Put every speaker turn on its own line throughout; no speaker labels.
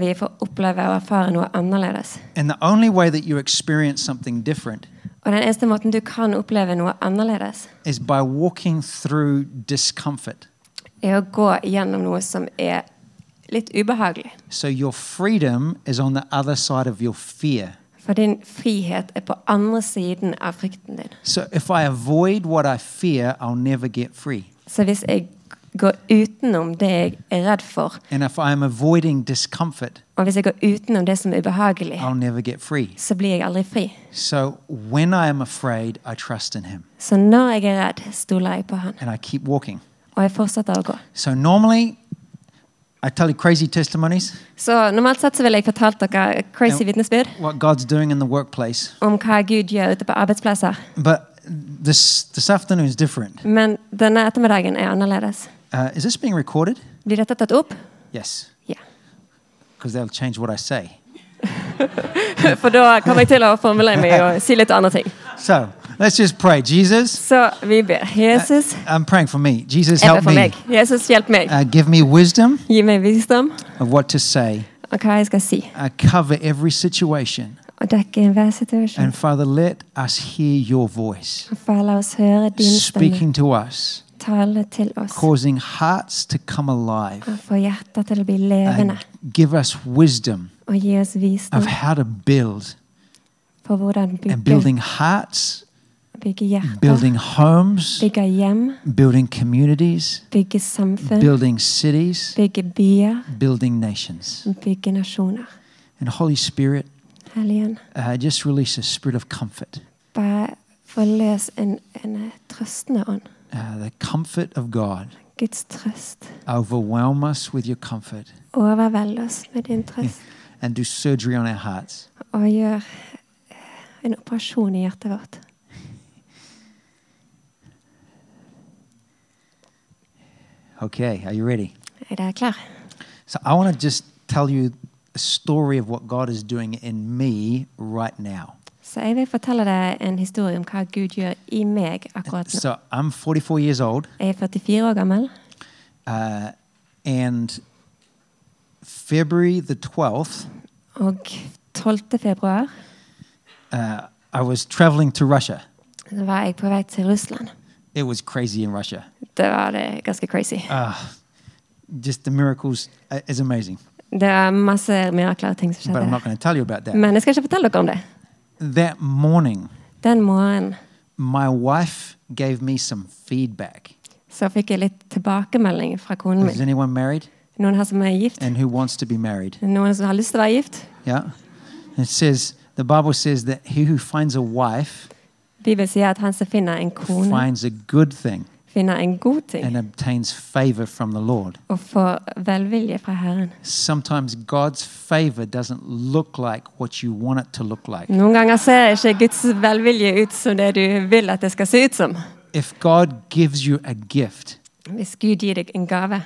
Vi får oppleve og erfare noe annerledes.
And the only way that you experience something different
Og den eneste måten du kan oppleve noe annerledes,
is by walking through discomfort.
er å gå gjennom noe som er litt ubehagelig.
So your freedom is on the other side of your fear.
For din frihet er på andre siden av frykten din.
So if I avoid what I fear, I'll never get free.
Så hvis jeg går utenom det jeg er redd for,
And if I'm avoiding discomfort,
og hvis jeg går utenom det som er ubehagelig,
I'll never get free.
så blir jeg aldri fri.
So when I am afraid, I trust in Him
Så når jeg er redd, stoler jeg på han,
and I keep walking.
og jeg fortsetter å gå.
So normally, I tell you crazy testimonies,
Så normalt sett så ville jeg fortalt dere crazy vitnesbyrd
what God's doing in the workplace,
om hva Gud gjør ute på arbeidsplasser.
but this this afternoon is different.
Men denne ettermiddagen er annerledes.
Uh, is this being recorded?
Blir dette tatt opp?
Yes,
Ja.
because they'll change what I say.
For da kommer jeg til å formulere meg og si litt andre ting.
So let's just pray. Jesus,
Så vi ber. Jesus,
I'm praying for me. Jesus,
jeg ber
help
for
me.
meg. Jesus, hjelp meg.
Uh, give me wisdom
Gi meg visdom
of what to say.
og hva jeg skal si.
Uh, cover every situation.
Og dekke enhver situasjon.
And Father, let us hear your voice
Far, la oss høre din stemme
speaking to us,
tale til oss.
causing hearts to come alive.
Og få hjertet til å bli
And
levende.
give us wisdom
Og gi oss
of
visdom
how to build
på hvordan
and
bygge,
building hearts,
bygge hjerter,
building homes,
bygge hjem,
building communities,
bygge samfunn,
building cities,
bygge byer,
building nations.
bygge nasjoner.
And Holy Spirit,
Helligen,
uh, just release a spirit of comfort,
bare forløs en, en eh, trøstende ånd.
uh, the comfort of God.
Guds trøst.
Overwhelm us with your comfort
Overveld oss med din trøst.
and do surgery on our hearts.
Og gjør eh, en operasjon i hjertet vårt.
Okay, are you ready?
Er dere klare?
So I want to just tell you a story of what God is doing in me right now.
Så jeg vil fortelle deg en historie om hva Gud gjør i meg akkurat nå.
So I'm 44 years old,
Jeg er 44 år gammel,
uh, and February the 12th,
og 12. februar
uh, I was traveling to Russia.
så var jeg på vei til Russland.
It was crazy in Russia.
Det var det ganske crazy.
Uh, just the miracles uh, is amazing,
Det var masse mirakler og ting som
but I'm
skjedde.
not going to tell you about that.
Men jeg skal ikke fortelle dere om det.
That morning,
Den morgenen
my wife gave me some feedback.
så fikk jeg litt tilbakemelding fra konen
Is
min.
anyone married
Noen her som er gift?
and who wants to be married?
Noen som har lyst til å være gift?
Yeah. It says, the Bible says that he who finds a wife
Bibelen sier at han som finner en kone,
finds a good thing
finner en god ting
and obtains favor from the Lord.
og får velvilje fra Herren.
Sometimes God's favor doesn't look like what you want it to look like.
Noen ganger ser ikke Guds velvilje ut som det du vil at det skal se ut som.
If God gives you a gift,
Hvis Gud gir deg en gave,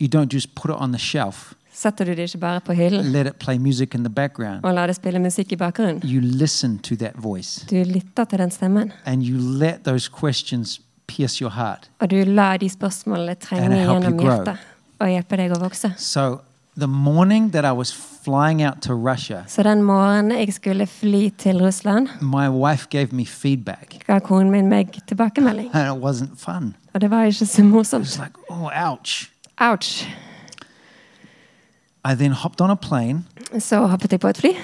you don't just put it on the shelf,
setter du det ikke bare på hyllen
let it play music in the background.
og lar det spille musikk i bakgrunnen.
You listen to that voice
Du lytter til den stemmen,
and you let those questions pierce your heart.
og du lar de spørsmålene
And
trenge
help you
gjennom
grow.
hjertet og hjelpe deg å vokse.
So, the morning that I was flying out to Russia,
Så den morgenen jeg skulle fly til Russland,
my wife gave me feedback.
ga konen min meg tilbakemelding.
and it wasn't fun.
Og det var ikke så
It's
morsomt.
like, oh, ouch.
Ouch.
I then hopped on a plane
Så hoppet jeg på et fly,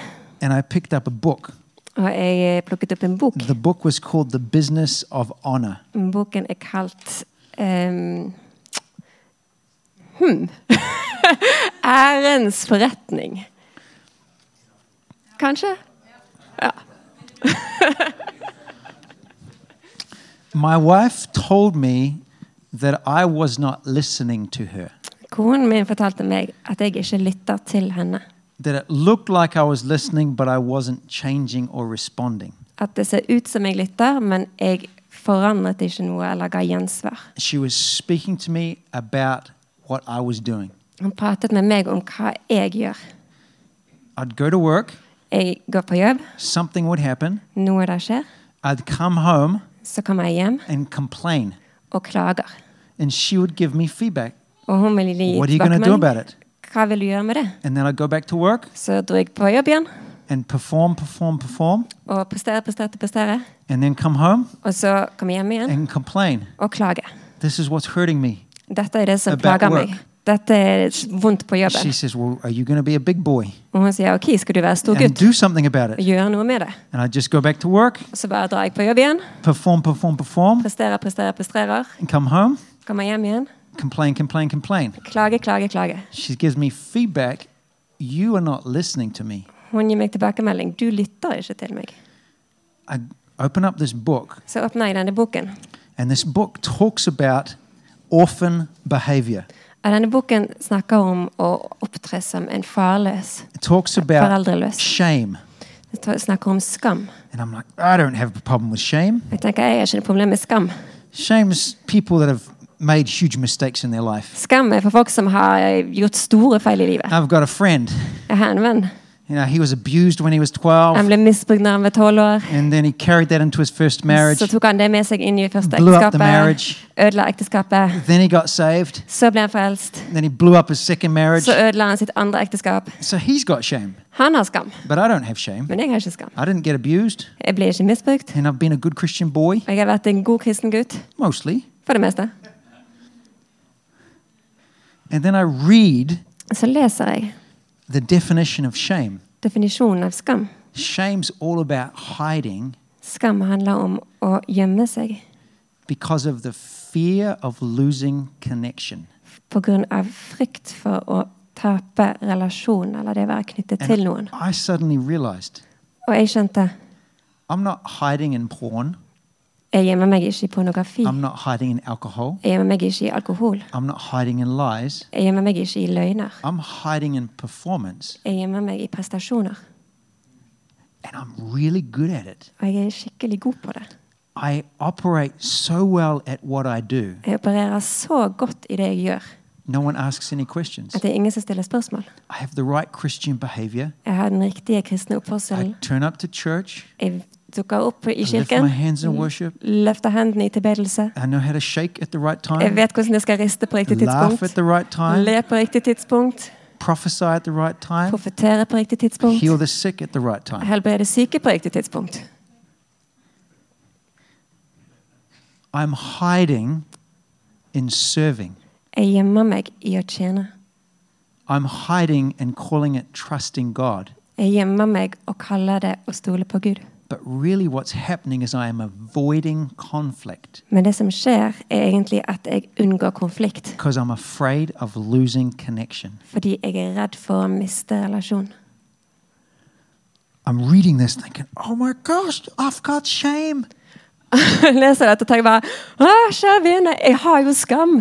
and I picked up a book.
og jeg eh, plukket opp en bok.
The book was called The Business of Honor.
Boken er kalt ehm, hmm. Ærens forretning. Kanskje?
My wife told me that I was not listening to her,
Konen min fortalte meg at jeg ikke lytter til henne.
that it looked like I was listening, but I wasn't changing or responding.
At det ser ut som jeg lytter, men jeg forandret ikke noe eller ga gjensvar.
She was speaking to me about what I was doing.
Han pratet med meg om hva jeg gjør.
I'd go to work,
Jeg går på jobb,
something would happen,
noe der skjer.
I'd come home
Så kommer jeg hjem
and complain,
og klager.
and she would give me feedback.
Og hun vil gi
What are you going to do
tilbakemelding.
about it?
Hva vil du gjøre med det?
And then I'd go back to work
Så dro jeg på jobb igjen
and perform, perform, perform,
og prestere, prestere, prestere.
and then come home
Og så kom jeg hjem igjen
and complain.
og klage.
This is what's hurting me.
Dette er det som
About
plager
work.
meg. Dette er vondt på
She
jobben.
says, Well, are you going to be a big boy
Og hun sier OK, skal du være stor
and
gutt
do something about
og
it?
gjøre noe med det?
And I just go back to work,
Og så bare drar jeg på jobb igjen.
perform, perform, perform,
Presterer, presterer, presterer.
and come home,
Kommer hjem igjen.
complain, complain, complain.
Klage, klage, klage.
She gives me feedback. You are not listening to me.
Hun gir meg tilbakemelding. Du lytter ikke til meg.
I open up this book,
Så åpner jeg denne boken.
and this book talks about orphan behavior.
Og denne boken snakker om å opptre som en farløs.
It talks about
Foreldreløs.
shame.
Det ta- snakker om skam.
And I'm like, I don't have a problem with shame.
Jeg tenker, jeg har ikke noe problem med skam.
Shame's people that have made huge mistakes in their life.
Skam er for folk som har gjort store feil i livet.
I've got a friend,
Jeg har en venn.
you know, he was abused when he was
Han
12,
ble misbrukt da han var tolv år.
and then he carried that into his first marriage.
Så tok han det med seg inn i første
Blew up the
ekteskapet.
marriage.
Ødela ekteskapet.
Then he got saved.
Så ble han frelst.
Then he blew up his second marriage.
Så ødela han sitt andre ekteskap.
So he's got shame,
Han har skam,
but I don't have shame.
men jeg har ikke skam.
I didn't get abused,
Jeg ble ikke misbrukt.
and I've been a good Christian boy,
Jeg har vært en god kristen gutt,
mostly.
for det meste.
And then I read
Så leser jeg
the definition of shame.
definisjonen av skam.
Shame's all about hiding
Skam handler om å gjemme seg
because of the fear of losing connection.
pga. frykt for å tape relasjonen eller det å være knyttet til noen.
I suddenly realized
Og jeg skjønte
I'm not hiding in porn.
jeg gjemmer meg ikke i pornografi.
I'm not hiding in alcohol.
Jeg gjemmer meg ikke i alkohol.
I'm not hiding in lies.
Jeg gjemmer meg ikke i løgner.
I'm hiding in performance.
Jeg gjemmer meg i prestasjoner.
And I'm really good at it.
Og jeg er skikkelig god på det.
I operate so well at what I do.
Jeg opererer så godt i det jeg gjør,
No one asks any questions.
at det er ingen som stiller spørsmål.
I have the right Christian behavior.
Jeg har den riktige kristne
I
oppførselen.
turn up to church.
Jeg dukker opp i
I lift my
kirken,
hands Mm-hmm. in worship.
løfter hendene i tilbedelse.
I know how to shake at the right
Jeg
time.
vet hvordan jeg skal riste på riktig
Laugh at
tidspunkt.
the right time.
Le på riktig tidspunkt.
Prophesy at the right time.
Profetere på riktig tidspunkt.
Heal the sick at the right time.
Helbrede syke på riktig tidspunkt.
I'm hiding in serving.
Jeg gjemmer meg i å tjene.
I'm hiding and calling it trusting God.
Jeg gjemmer meg og kaller det å stole på Gud.
But really, what's happening is I am avoiding conflict
Men det som skjer, er egentlig at jeg unngår konflikt.
because I'm afraid of losing connection.
Fordi jeg er redd for å miste relasjon.
I'm reading this thinking, oh my gosh, I've got shame.
Jeg leser dette og tenker bare Å, kjære vene, jeg har jo skam!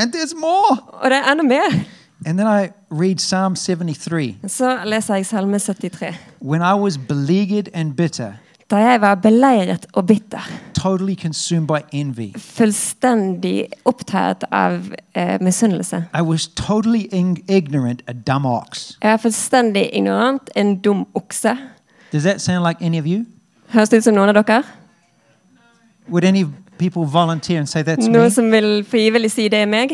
And there's more.
Og det er enda mer.
And then I read Psalm 73.
Så leser jeg Salme 73.
When I was beleaguered and bitter,
Da jeg var beleiret og bitter,
totally consumed by envy,
fullstendig opptatt av eh, misunnelse
I was totally ing- ignorant, a dumb ox.
Jeg er fullstendig ignorant, en dum okse.
Does that sound like any of you?
Høres det ut som noen av dere?
Would any people volunteer and say that's
Noen
me?
som vil frivillig si det er meg?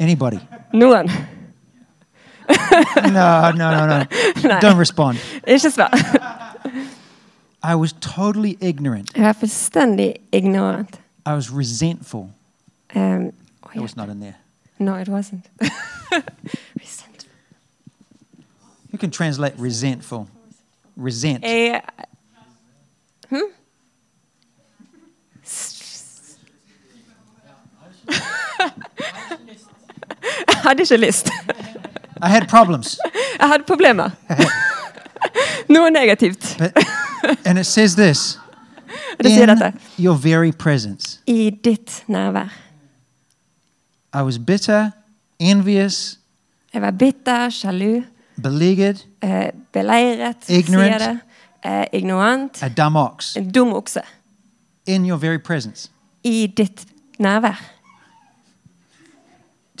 Anybody?
Noen.
No, no, no, no. Don't respond.
Ikke svar.
I was totally ignorant.
Jeg er fullstendig ignorant.
I was resentful.
Um, oh,
That
yeah.
was not in there.
No, it wasn't. Resentful.
You can translate resentful. Resent.
Jeg Hm? S- Jeg hadde ikke lyst.
I had problems.
Jeg hadde problemer. Noe negativt.
But, and it says this
Det sier dette.
in your very presence.
I ditt nærvær.
I was bitter, envious,
Jeg var bitter, sjalu,
beleaguered,
eh, beleiret,
Ignorant.
sier det. Eh, ignorant.
a dumb ox.
En dum okse.
In your very presence.
I ditt nærvær.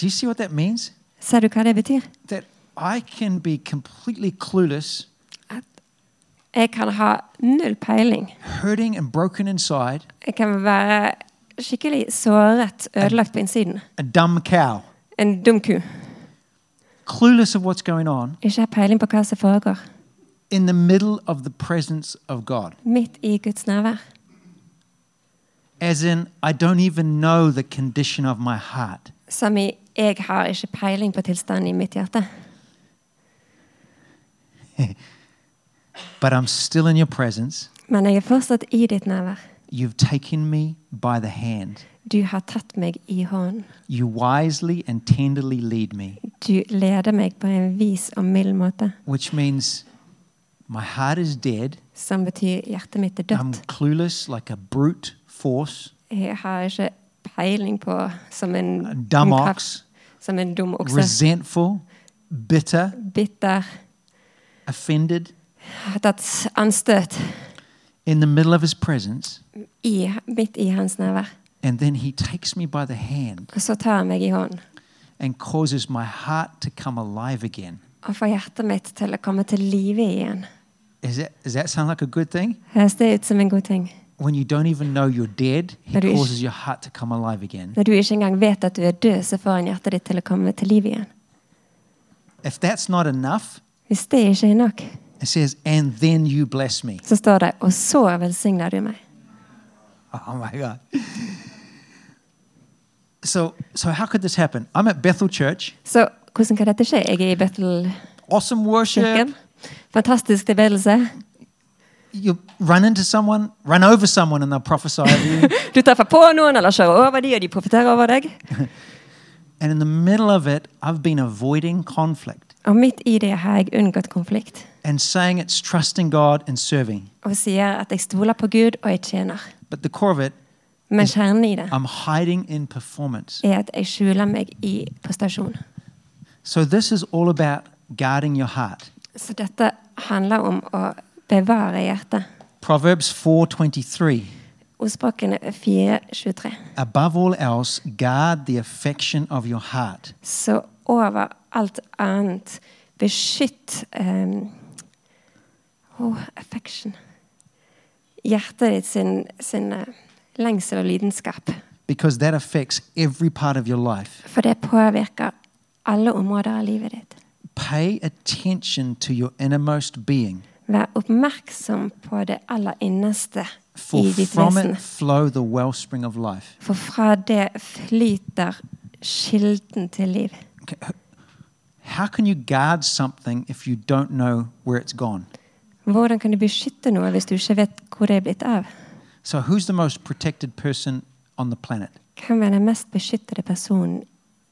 Do you see what that means?
Ser du hva det betyr?
That I can be completely clueless,
At jeg kan ha null peiling.
hurting and broken inside,
Jeg kan være skikkelig såret, ødelagt på innsiden.
a dumb cow,
En dum ku.
clueless of what's going on,
Ikke har peiling på hva som foregår.
in the middle of the presence of God.
Midt i Guds nærvær.
As in, I don't even know the condition of my heart.
Som i 'jeg har ikke peiling på tilstanden i mitt hjerte',
But I'm still in your presence.
men jeg er fortsatt i ditt nærvær.
You've taken me by the hand.
Du har tatt meg i hånden.
You wisely and tenderly lead me,
Du leder meg på en vis og mild måte,
which means my heart is dead.
som betyr hjertet mitt er
I'm
dødt.
clueless like a brute force,
Jeg har ikke peiling på som en
a dumb
en kraft-
ox,
Som en dum okse.
resentful, bitter,
Bitter.
offended.
Har tatt anstøt
In the middle of his presence,
i, midt i hans nærvær.
and then he takes me by the hand
Og så tar han meg i hånden
and causes my heart to come alive again.
og får hjertet mitt til å komme til live igjen.
Is that, does that sound like a good thing?
Høres det ut som en god ting?
When you don't even know you're dead, he
That is-
causes your heart to come alive again.
Når du ikke engang vet at du er død, så får han hjertet ditt til å komme til liv igjen.
If that's not enough,
Hvis det ikke er nok,
it says, and then you bless me.
så står det 'Og så velsigner du meg'.
Oh my God. So, so how could this happen? I'm at Bethel Church.
Så hvordan kan dette skje? Jeg er i Bethel-kirken.
Awesome worship.
Fantastisk tilbedelse.
You run into someone, run over someone, and they'll prophesy over you.
Du treffer på noen eller kjører over de, og de profiterer over deg.
and in the middle of it, I've been avoiding conflict
Og midt i det har jeg unngått konflikt.
and saying it's trusting God and serving.
Og sier at jeg stoler på Gud, og jeg tjener.
But the core of it,
Men kjernen i det
I'm hiding in performance.
er at jeg skjuler meg i prestasjon.
So this is all about guarding your heart.
Så dette handler om å bevare hjertet.
Proverbs 4:23.
Ordspråkene 4.23.
Above all else, guard the affection of your heart,
Så over alt annet beskytt ehm, oh, affection. Hjertet ditt sin, sin eh, lengsel og lidenskap.
because that affects every part of your life.
For det påvirker alle områder av livet ditt.
Pay attention to your innermost being,
Vær oppmerksom på det aller innerste
for
i ditt
from
vesen.
it flow the wellspring of life.
For fra det flyter kilden til liv.
Okay, h- How can you guard something if you don't know where it's gone?
Hvordan kan du beskytte noe hvis du ikke vet hvor det er blitt av?
So, who's the most protected person on the planet?
Hvem er den mest beskyttede personen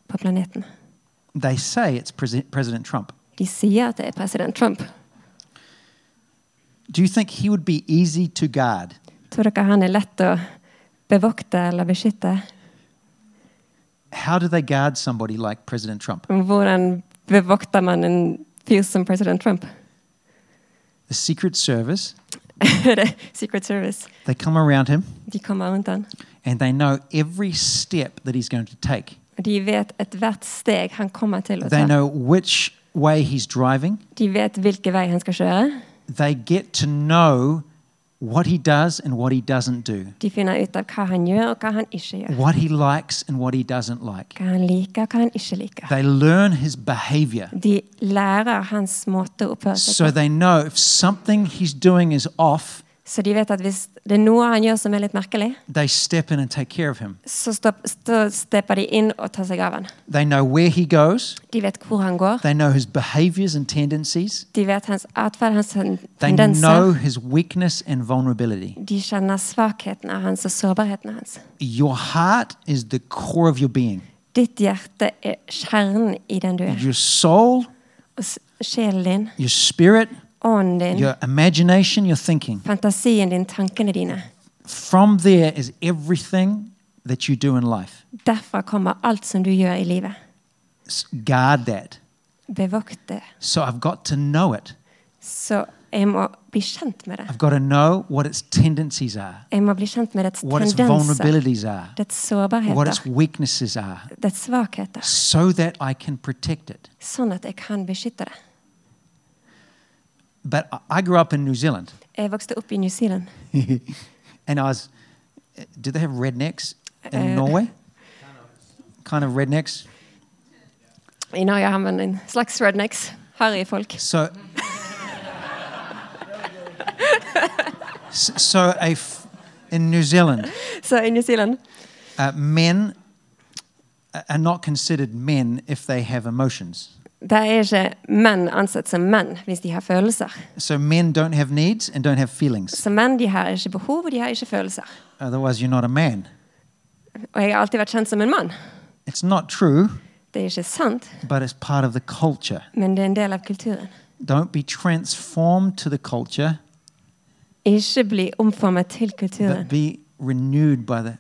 på planeten?
They say it's Presi- President Trump.
De sier at det er president Trump.
Do you think he would be easy to guard?
Tror dere han er lett å bevokte eller beskytte?
How do they guard somebody like President Trump?
Hvordan bevokter man en fyr som president Trump?
The Secret Service,
Det er Secret Service.
they come around him
De kommer rundt han.
and they know every step that he's going to take.
Og de vet ethvert steg han kommer til å
They
ta.
know which way he's driving.
De vet hvilken vei han skal kjøre.
They get to know what he does and what he doesn't do,
De finner ut av hva han gjør, og hva han ikke gjør.
what he likes and what he doesn't like.
Hva han liker, og hva han ikke liker.
They learn his behavior.
De lærer hans måte å oppføre
So
seg på.
they know if something he's doing is off,
Så de vet at hvis det er noe han gjør som er litt merkelig,
they step in and take care of him.
så stopp, stå, stepper de inn og tar seg av han.
They know where he goes,
De vet hvor han går.
they know his behaviors and tendencies.
De vet hans atferd, hans ten-
They know
tendenser.
his weakness and vulnerability.
De kjenner svakheten av hans og sårbarheten av hans.
Your heart is the core of your being.
Ditt hjerte er kjernen i den du er.
Your soul,
Og s- sjelen din,
your spirit,
ånden din,
your imagination, your thinking.
fantasien din, tankene dine.
From there is everything that you do in life.
Derfra kommer alt som du gjør i livet.
S- Guard that.
Bevokt det.
So I've got to know it.
Så jeg må bli kjent med det.
I've got to know what its tendencies are,
Jeg må bli kjent med dets
what its
tendenser,
vulnerabilities are,
dets
what its
sårbarheter,
weaknesses are,
dets svakheter,
so that I can protect it.
sånn at jeg kan beskytte det.
But I- I grew up in New Zealand
Jeg vokste opp i New Zealand.
and I was, do they have rednecks in
Uh,
Norway? Kind of rednecks.
I Norge har man en slags rednecks. Harryfolk.
So, S- so a f- in New Zealand,
Så i New Zealand
uh, men a- are not considered men if they have emotions.
der er ikke menn ansett som menn hvis de har følelser.
So men don't have needs and don't have feelings.
Så menn de har ikke behov, og de har ikke følelser.
Otherwise, you're not a man.
Og jeg har alltid vært kjent som en mann.
It's not true,
Det er ikke sant,
but it's part of the culture.
men det er en del av kulturen.
Don't be transformed to the culture,
Ikke bli omformet til kulturen,
but be renewed by the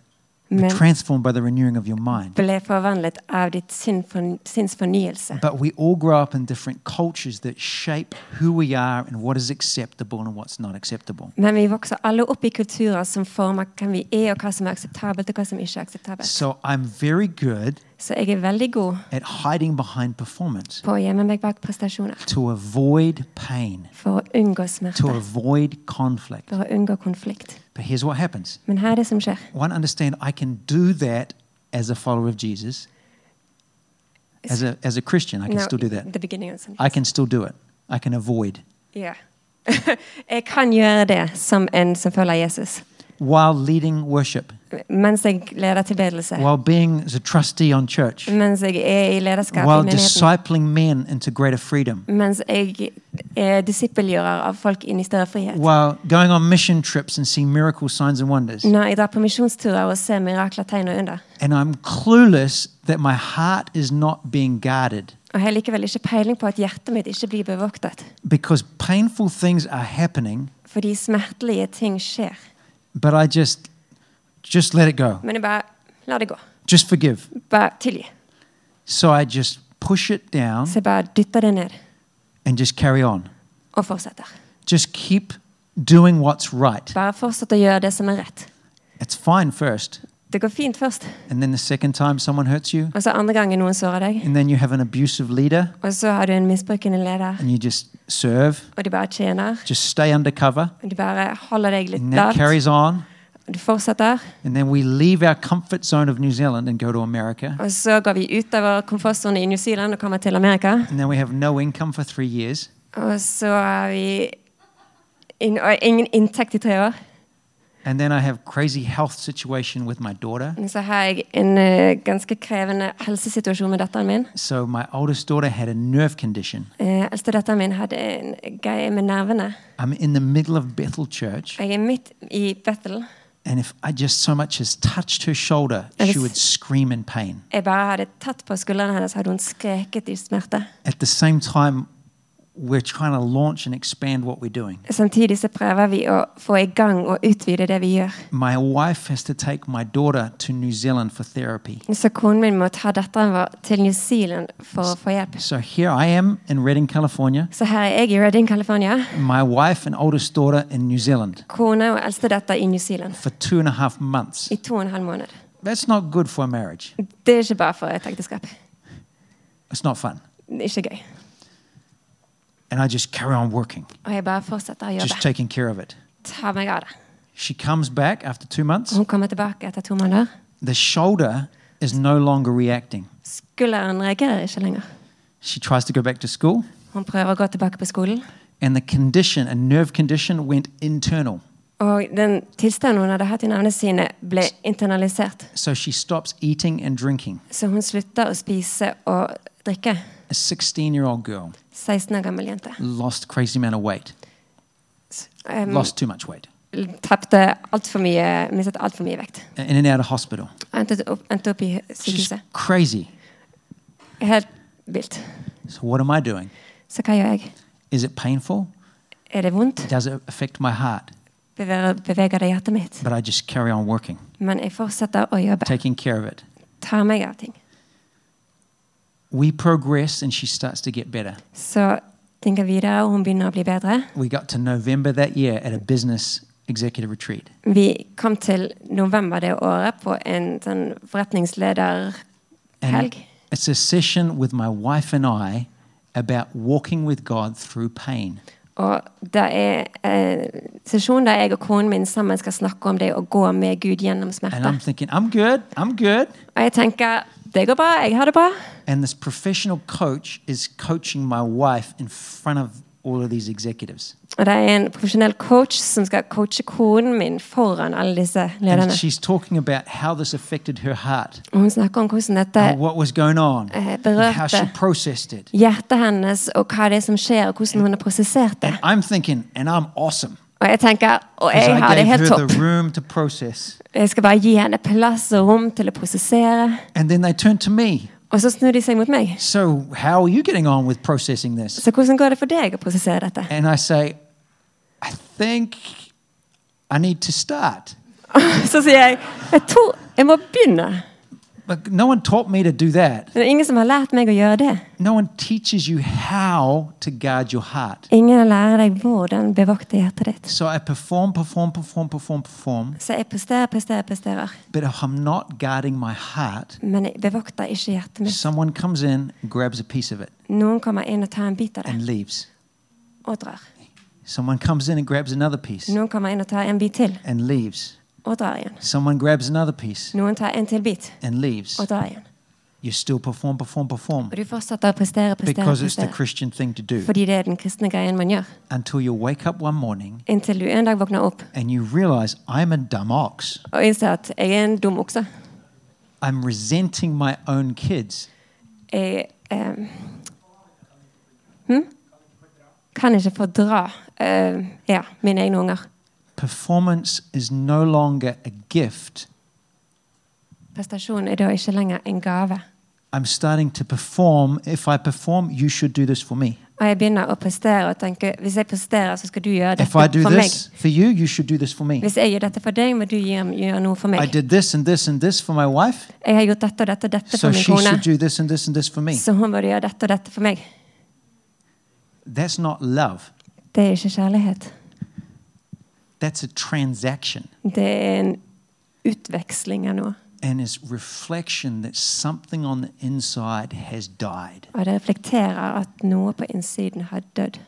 be
men
transformed by the renewing of your mind.
ble forvandlet av ditt sinn for, sinns fornyelse.
But we all grow up in different cultures that shape who we are and what is acceptable and what's not acceptable.
Men vi vokser alle opp i kulturer som former hvem vi er, og hva som er akseptabelt, og hva som ikke er akseptabelt.
So I'm very good
Så jeg er veldig god
at hiding behind performance
på å gjemme meg bak prestasjoner
to avoid pain,
for å unngå
to
smerte,
avoid conflict.
for å unngå konflikt.
But here's what happens.
Men her er det som skjer.
One understand I can do that as a follower of Jesus. As a as a Christian, I can
Now,
still do that.
the beginning of something.
I can still do it. I can avoid
Ja. jeg kan gjøre det som en som følger Jesus,
while leading worship,
mens jeg leder tilbedelse,
while being as a trustee on church,
mens jeg er i lederskap i
while
menigheten,
discipling men into greater freedom,
mens jeg er disippelgjører av folk inn i større frihet.
while going on mission trips and seeing miracle signs and wonders.
Når jeg drar på misjonsturer og ser mirakler, tegn og under,
And I'm clueless that my heart is not being guarded
og jeg har likevel ikke peiling på at hjertet mitt ikke blir bevoktet,
because painful things are happening,
fordi smertelige ting skjer,
but I just just let it go.
men jeg bare lar det gå.
Just forgive.
Bare tilgi.
So I just push it down
Så jeg bare dytter det ned
and just carry on.
og fortsetter.
Just keep doing what's right.
Bare fortsett å gjøre det som er rett.
It's fine first,
Det går fint først,
and then the second time someone hurts you,
og så andre gangen noen sårer deg.
and then you have an abusive leader
Og så har du en misbrukende leder,
and you just serve,
og de bare tjener.
just stay undercover,
Og de bare holder deg litt
and that
lavt.
carries on.
og Du fortsetter.
And then we leave our comfort zone of New Zealand and go to America.
Og så går vi ut av vår komfortsone i New Zealand og kommer til Amerika.
And then we have no income for three years.
Og så har vi inn- og ingen inntekt i tre år.
And then I have crazy health situation with my daughter.
Og Så har jeg en eh, ganske krevende helsesituasjon med datteren min.
So my oldest daughter had a nerve condition.
Eh, Eldste datteren min hadde en greie med nervene.
I'm in the middle of Bethel Church,
Jeg er midt i Bethel.
and if I just so much as touched her shoulder,
And
she
it's-
would scream in pain.
Jeg bare hadde tatt på skuldrene hennes, hadde hun skreket i smerte.
At the same time, we're trying to launch and expand what we're doing.
Samtidig så prøver vi å få i gang og utvide det vi gjør.
My wife has to take my daughter to New Zealand for therapy.
Så konen min må ta datteren vår til New Zealand for å få hjelp.
So here I am in Redding, California,
Så her er jeg i Redding, California.
my wife and oldest daughter in New Zealand
Kone og eldste datter i New Zealand.
for two and a half months.
I to og en halv måned.
That's not good for a marriage.
Det er ikke bare for et ekteskap.
It's not fun.
Det er ikke gøy.
And I just carry on working,
Og jeg bare fortsetter å
just
jobbe.
taking care of it.
Ta meg av det.
She comes back after two months.
Hun kommer tilbake etter to måneder.
The shoulder is no longer reacting.
Skulderen reagerer ikke lenger.
She tries to go back to school,
Hun prøver å gå tilbake på skolen.
and the condition, a nerve condition, went internal.
Og den tilstanden hun hadde hatt i nevnene sine, ble internalisert.
So she stops eating and drinking.
Så hun slutta å spise og drikke.
A 16 year old girl
16 år gammel jente.
lost crazy amount of weight,
Um,
lost too much weight,
Tapte altfor mye, mistet altfor mye vekt.
in and out of hospital.
Endte opp, endte opp i
She's
sykehuset.
crazy.
Helt vilt.
So, what am I doing?
Så hva gjør jeg?
Is it painful?
Er det vondt?
Does it affect my heart?
Beveger, beveger det hjertet mitt?
But I just carry on working,
Men jeg fortsetter å jobbe.
taking care of it.
Tar meg av ting.
We progress, and she starts to get better.
Så ting går videre, og hun begynner å bli bedre.
We got to November that year at a business executive retreat.
Vi kom til november det året på en sånn
And
forretningslederhelg.
it's a session with my wife and I about walking with God through pain.
Og det er en sesjon der jeg og konen min sammen skal snakke om det å gå med Gud gjennom
And I'm
smerte.
thinking, I'm good, I'm good.
Og jeg tenker Det går bra. Jeg har det bra.
And this professional coach is coaching my wife in front of all of these executives.
Og det er en profesjonell coach som skal coache konen min foran alle disse
And
lederne.
she's talking about how this affected her heart,
Og hun snakker om hvordan dette
and what was going on,
eh,
and how she
berørte
processed it.
hjertet hennes, og hva det er som skjer, og hvordan hun har prosessert det.
And I'm thinking, and I'm awesome.
Og jeg tenker og
'cause
jeg
I
har det
gave her
helt topp.
the room to process.
Jeg skal bare gi henne plass og rom til å prosessere.
And then they turn to me.
Og så snur de seg mot meg.
So, how are you getting on with processing this?
Så hvordan går det for deg å prosessere dette?
And I say, I think I need to start.
Så sier jeg jeg tror jeg må begynne.
But no one taught me to do
Men
that.
det er ingen som har lært meg å gjøre det.
No one teaches you how to guard your heart.
Ingen lærer deg hvordan bevokte hjertet ditt.
So I perform, perform, perform, perform, perform.
Så jeg presterer, presterer, presterer.
But if I'm not guarding my heart,
Men jeg bevokter ikke hjertet mitt.
someone comes in, grabs a piece of it,
Noen kommer inn og tar en bit av det
and leaves.
og drar.
Someone comes in and grabs another piece
Noen kommer inn og tar en bit til
and leaves.
og drar igjen.
Someone grabs another piece
Noen tar en til bit
and leaves.
og drar igjen.
You still perform, perform, perform.
Og du fortsetter å prestere, prestere,
Because it's the
prestere.
Christian thing to do.
Fordi det er den kristne greien man gjør.
Until you wake up one morning
Inntil du en dag våkner opp
and you realize I'm a dumb ox.
og innser at jeg er en dum okse.
I'm resenting my own kids.
Jeg eh, hm? kan ikke fordra eh, ja, mine egne unger.
Performance is no longer a gift.
Prestasjon er da ikke lenger en gave.
I'm starting to perform. If I perform, you should do this for me.
Og jeg begynner å prestere og tenke hvis jeg presterer, så skal du gjøre dette
If I do
for meg.
this for you, you should do this for me.
Hvis jeg gjør dette for deg, må du gjøre, gjøre noe for
I
meg.
did this and this and this for my wife,
Jeg har gjort dette og dette og dette
so
for min
she
kone,
should do this and this and this for me.
så hun burde gjøre dette og dette for meg.
That's not love.
Det er ikke kjærlighet.
That's a transaction
Det er en utveksling av noe.
and is reflection that something on the inside has died.
Og det reflekterer at noe på innsiden har dødd.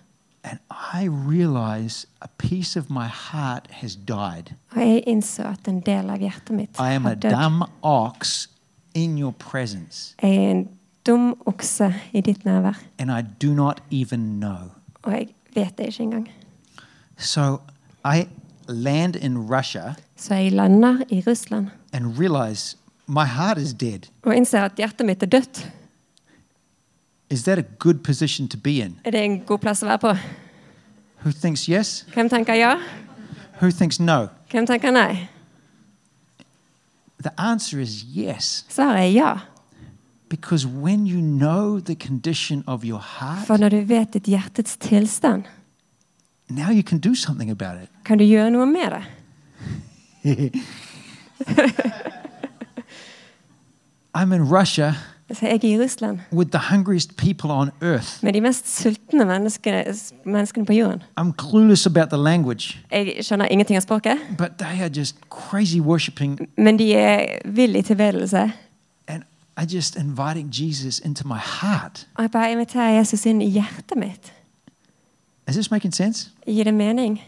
And I realize a piece of my heart has died.
Og jeg innså at en del av hjertet mitt
I am a
har dødd.
dumb ox in your presence,
Jeg er en dum okse i ditt nærvær,
and I do not even know.
og jeg vet det ikke engang.
So I land in Russia
Så jeg lander i Russland
and realize my heart is dead.
og innser at hjertet mitt er dødt.
Is that a good position to be in?
Er det en god plass å være på?
Who thinks yes?
Hvem tenker ja?
Who thinks no?
Hvem tenker nei?
The answer is yes,
Svaret er ja.
because when you know the condition of your
For
heart,
når du vet ditt hjertets tilstand,
now you can do something about it.
kan du gjøre noe med det.
I'm in Russia
Så Altså, jeg er i Russland
with the hungriest people on earth.
med de mest sultne menneskene, menneskene på jorden.
I'm clueless about the language,
Jeg skjønner ingenting av språket,
but they are just crazy worshiping.
men de er vill i tilbedelse.
And I just inviting Jesus into my heart.
Og jeg bare inviterer Jesus inn i hjertet mitt.
Is this making sense?
Gir det mening?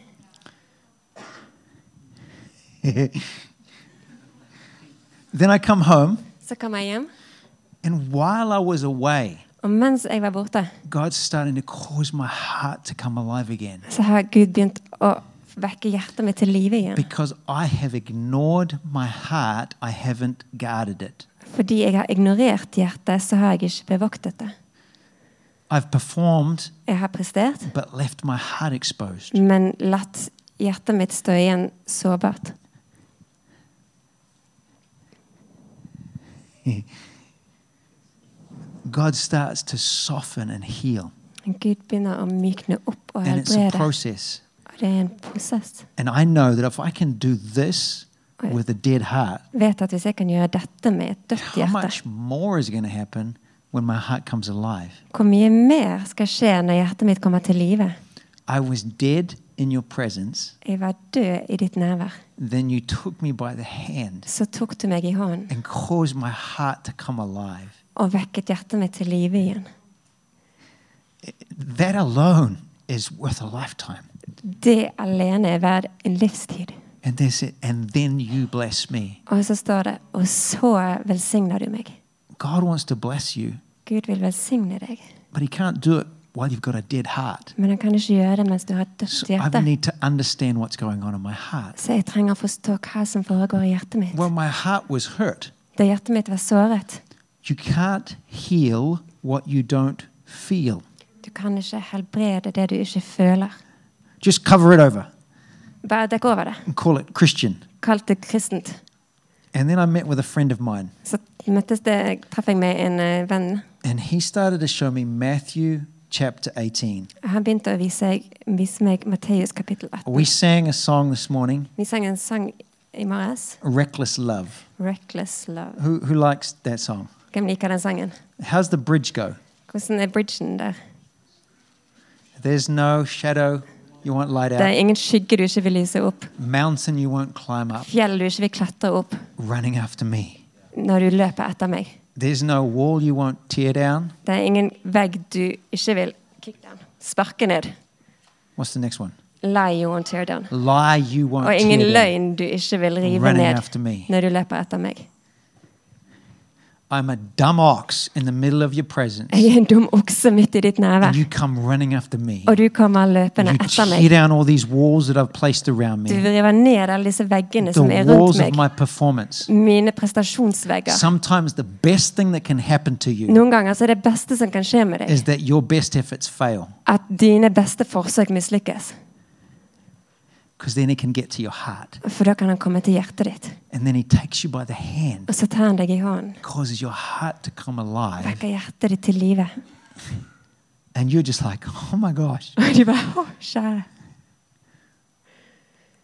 Then I come home,
Så kom jeg hjem,
and while I was away,
og mens jeg var borte,
God's starting to cause my heart to come alive again
så har Gud begynt å vekke hjertet mitt til live igjen.
because I have ignored my heart. I haven't guarded it.
Fordi jeg har ignorert hjertet, så har jeg ikke bevoktet det.
I've performed
Jeg har prestert,
but left my heart exposed.
men latt hjertet mitt stå igjen sårbart.
God starts to soften and heal,
Men Gud begynner å mykne opp og
and it's a
helbrede.
process.
Og det er en prosess.
And I know that if I can do this with a dead heart,
Vet at hvis jeg kan gjøre dette med et dødt
how
hjerte,
much more is going to happen when my heart comes alive?
hvor mye mer skal skje når hjertet mitt kommer til live?
I was dead in your presence,
Jeg var død i ditt nærvær.
then you took me by the hand
Så tok du meg i hånden
and caused my heart to come alive.
og vekket hjertet mitt til live igjen.
That alone is worth a lifetime.
Det alene er verdt en livstid.
And that's it. And then you bless me.
Og så står det Og så velsigner du meg.
God wants to bless you,
Gud vil velsigne deg,
but He can't do it while you've got a dead heart.
men han kan ikke gjøre det mens du har et
So
dødt
I
hjerte.
need to understand what's going on in my heart.
Så jeg trenger å forstå hva som foregår i hjertet mitt.
Well, my heart was hurt.
Da hjertet mitt var såret.
You can't heal what you don't feel.
Du kan ikke helbrede det du ikke føler.
Just cover it over
Bare dekk over det.
and call it Christian.
Kalt det kristent.
And then I met with a friend of mine,
Så møttes det, traff jeg med en eh, venn.
and he started to show me Matthew chapter 18.
Han begynte å vise, vise meg Matteus kapittel 18.
We sang a song this morning,
Vi sang en sang i morges.
Reckless Love.
'Reckless Love'.
Who, who likes that song?
Hvem liker den sangen?
How's the bridge go?
Hvordan er bridgen der?
There's no shadow you won't light
Det
out,
er ingen skygge du ikke vil lyse opp.
mountain you won't climb up,
Fjell du ikke vil klatre opp
running after me.
når du løper etter meg.
There's no wall you won't tear down.
Det er ingen vegg du ikke vil kick down. sparke ned.
What's the next one?
Lie you won't tear down.
Lie you won't
Og ingen
tear down.
løgn du ikke vil rive
Running
ned
after me.
når du løper etter meg.
I'm a dumb ox in the middle of your presence,
Jeg er en dum okse midt i ditt
and
nærvær,
you come running after me.
og du kommer løpende
You
etter
tear
meg.
down all these walls that I've placed around
Du
me,
river ned alle disse veggene som
the
er rundt
walls of
meg.
my performance.
Mine prestasjonsvegger.
Sometimes the best thing that can happen to you
Noen ganger så er det beste som kan skje med deg,
is that your best efforts fail,
at dine beste forsøk mislykkes.
because then it can get to your heart.
For da kan han komme til hjertet ditt.
And then he takes you by the hand,
Og så tar han deg i hånden.
causes your heart to come alive.
Vekker hjertet ditt til live.
And you're just like, oh my gosh,
Og du bare Å, kjære.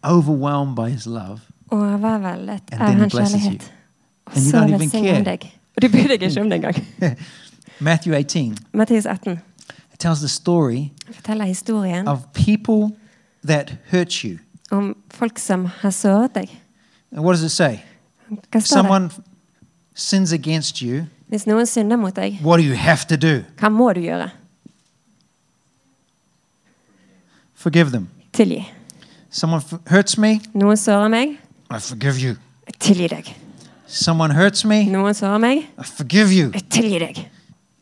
overwhelmed by his love.
Overveldet
And
av
then he
hans
blesses
kjærlighet. Og
And you
så
don't even
velsigner han
care.
deg. Og du bryr deg ikke om det engang.
Matthew 18
Matteus 18
it tells the story
forteller historien
of people that hurt you.
om folk som har såret deg.
And what does it say?
Hva
If
står det?
someone sins against you,
Hvis noen synder mot deg,
what do you have to do?
hva må du gjøre?
Forgive them.
Tilgi.
Someone f- hurts me,
Noen sårer meg,
I forgive you.
jeg tilgi deg.
Someone hurts me,
Noen sårer meg,
I forgive you.
jeg tilgi deg.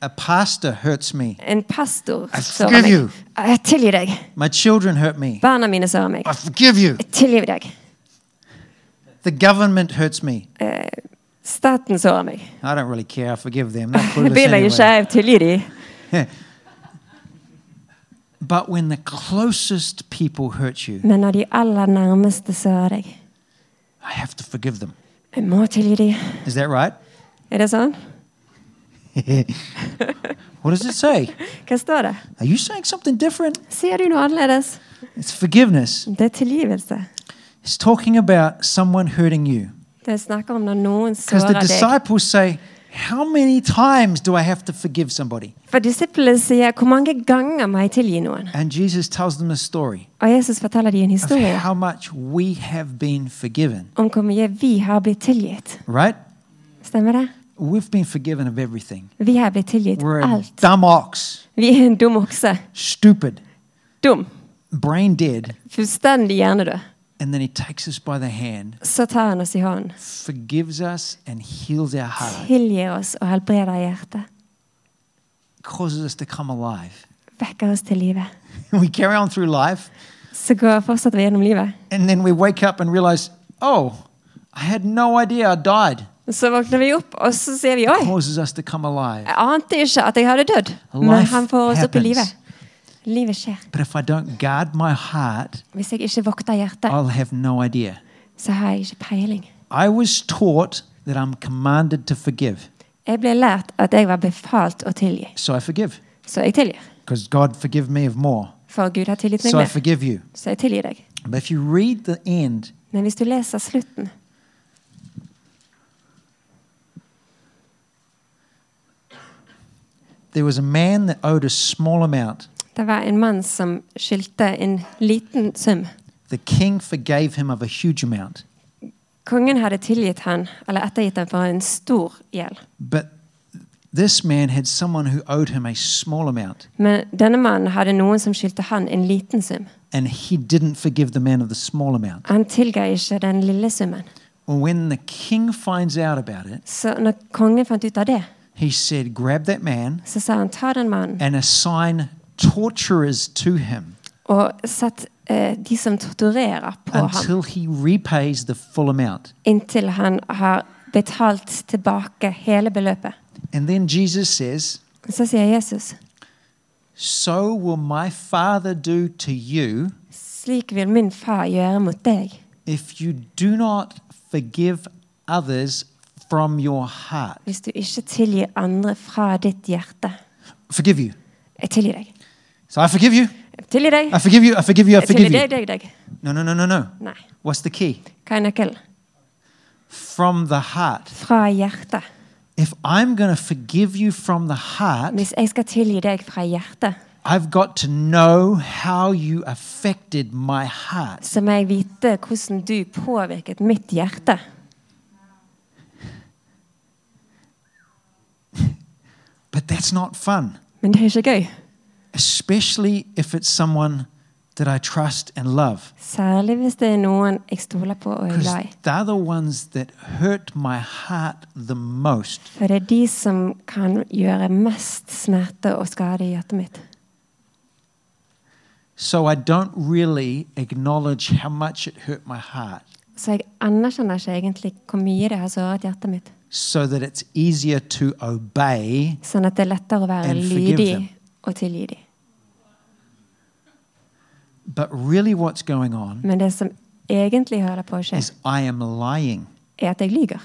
A pastor hurts me,
En pastor
I
sårer
forgive you.
meg, jeg tilgi deg.
my children hurt me,
Barna mine sårer meg,
I forgive you.
jeg tilgi deg.
The government hurts me,
Staten sårer meg.
I don't really care. I forgive them. They're
Jeg
clueless
bryr meg ikke,
anyway.
jeg tilgir de.
But when the closest people hurt you,
Men når de aller nærmeste sårer deg,
I have to forgive them.
jeg må tilgi de.
Is that right?
Er det sånn?
what does it say?
Hva står det?
Are you saying something different?
Sier du noe annerledes?
It's forgiveness.
Det er tilgivelse.
It's talking about someone hurting you.
Det snakker om når noen
Because the
sårer deg.
disciples say, How many times do I have to forgive somebody?
For disiplene sier, hvor mange ganger må jeg tilgi noen?
And Jesus tells them a story
Og Jesus forteller dem en
of
historie
how much we have been forgiven,
om hvor mye vi har blitt tilgitt.
right?
Stemmer det?
We've been forgiven of everything.
Vi har blitt tilgitt
We're a
alt.
dumb ox,
Vi er en dum okse.
stupid,
Dum.
brain dead.
Fullstendig hjernedød.
And then he takes us by the hand,
Så tar han oss i hånden.
forgives us, and heals our heart,
Tilgir oss og helbreder hjertet.
causes us to come alive.
Vekker oss til livet.
we carry on through life,
Så går fortsetter vi gjennom livet.
and then we wake up and realize, oh, I had no idea I died.
Så våkner vi opp, og så sier vi oi,
Causes us to come alive.
jeg ante ikke at jeg hadde dødd. Men
Life
han får oss opp i livet.
happens.
Livet skjer.
But if I don't guard my heart,
Hvis jeg ikke vokter hjertet,
I'll have no idea.
så har jeg ikke peiling.
I was taught that I'm commanded to forgive,
Jeg ble lært at jeg var befalt å tilgi,
so I forgive.
så jeg tilgir.
Because God forgive me of more,
For Gud har tilgitt meg
so I
mer,
forgive you.
så jeg tilgir deg.
But if you read the end,
Men hvis du leser slutten,
there was a man that owed a small amount.
det var en mann som skyldte en liten sum.
The king forgave him of a huge amount,
Kongen hadde tilgitt han, eller ettergitt han for en stor gjeld.
but this man had someone who owed him a small amount,
Men denne mannen hadde noen som skyldte han en liten sum.
and he didn't forgive the man of the small amount.
Han tilga ikke den lille summen.
Well, when the king finds out about it,
Så når kongen fant ut av det,
He said, Grab that man
Så sa han, ta den mannen
and assign torturers to him
og sett eh, de som torturerer på ham,
until he repays the full amount.
inntil han har betalt tilbake hele beløpet.
And then Jesus says,
Så sier Jesus,
So will my Father do to you
slik vil min far gjøre mot deg,
if you do not forgive others from your heart.
hvis du ikke tilgir andre fra ditt hjerte.
Forgive you.
Jeg tilgir deg.
So I forgive you.
Jeg tilgir deg.
I forgive you. I forgive you. I
Jeg tilgir
forgive you.
deg, deg, deg.
No, no, no, no, no.
Nei.
What's the key?
Hva er nøkkelen?
From the heart.
Fra hjertet.
If I'm going to forgive you from the heart,
Hvis jeg skal tilgi deg fra hjertet,
I've got to know how you affected my heart.
så må jeg vite hvordan du påvirket mitt hjerte.
But that's not fun,
Men det er ikke gøy.
especially if it's someone that I trust and love.
Særlig hvis det er noen jeg stoler på og er
Because
glad i.
they're the ones that hurt my heart the most.
For det er de som kan gjøre mest smerte og skade i hjertet mitt.
So I don't really acknowledge how much it hurt my heart,
Så jeg anerkjenner ikke egentlig hvor mye det har såret hjertet mitt.
so that it's easier to obey
Sånn at det er lettere å være
And forgive
lydig
them.
og tilgi dem.
But really, what's going on
Men det som egentlig hører på å skje,
is I am lying
er at jeg lyver.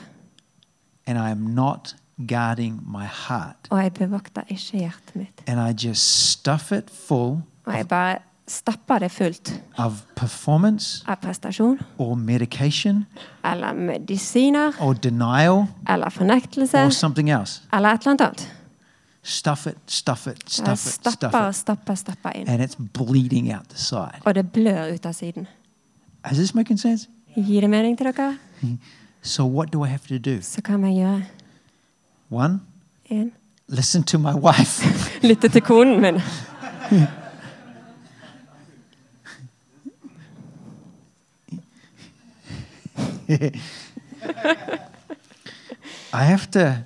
and I am not guarding my heart.
Og jeg bevokter ikke hjertet mitt.
And I just stuff it full
Og jeg bare stapper det fullt
of performance
av prestasjon
or medication
eller medisiner
or denial
eller fornektelse
or something else.
eller et eller annet annet.
Stuff it, stuff it,
Jeg
stuff it,
stapper og
stuff it.
stapper og stapper inn.
And it's bleeding out the side.
Og det blør ut av siden.
Is this making sense?
Gir det mening til dere?
So, what do I have to do?
Så hva må jeg gjøre?
One,
En.
listen to my wife.
Lytte til konen min.
I have to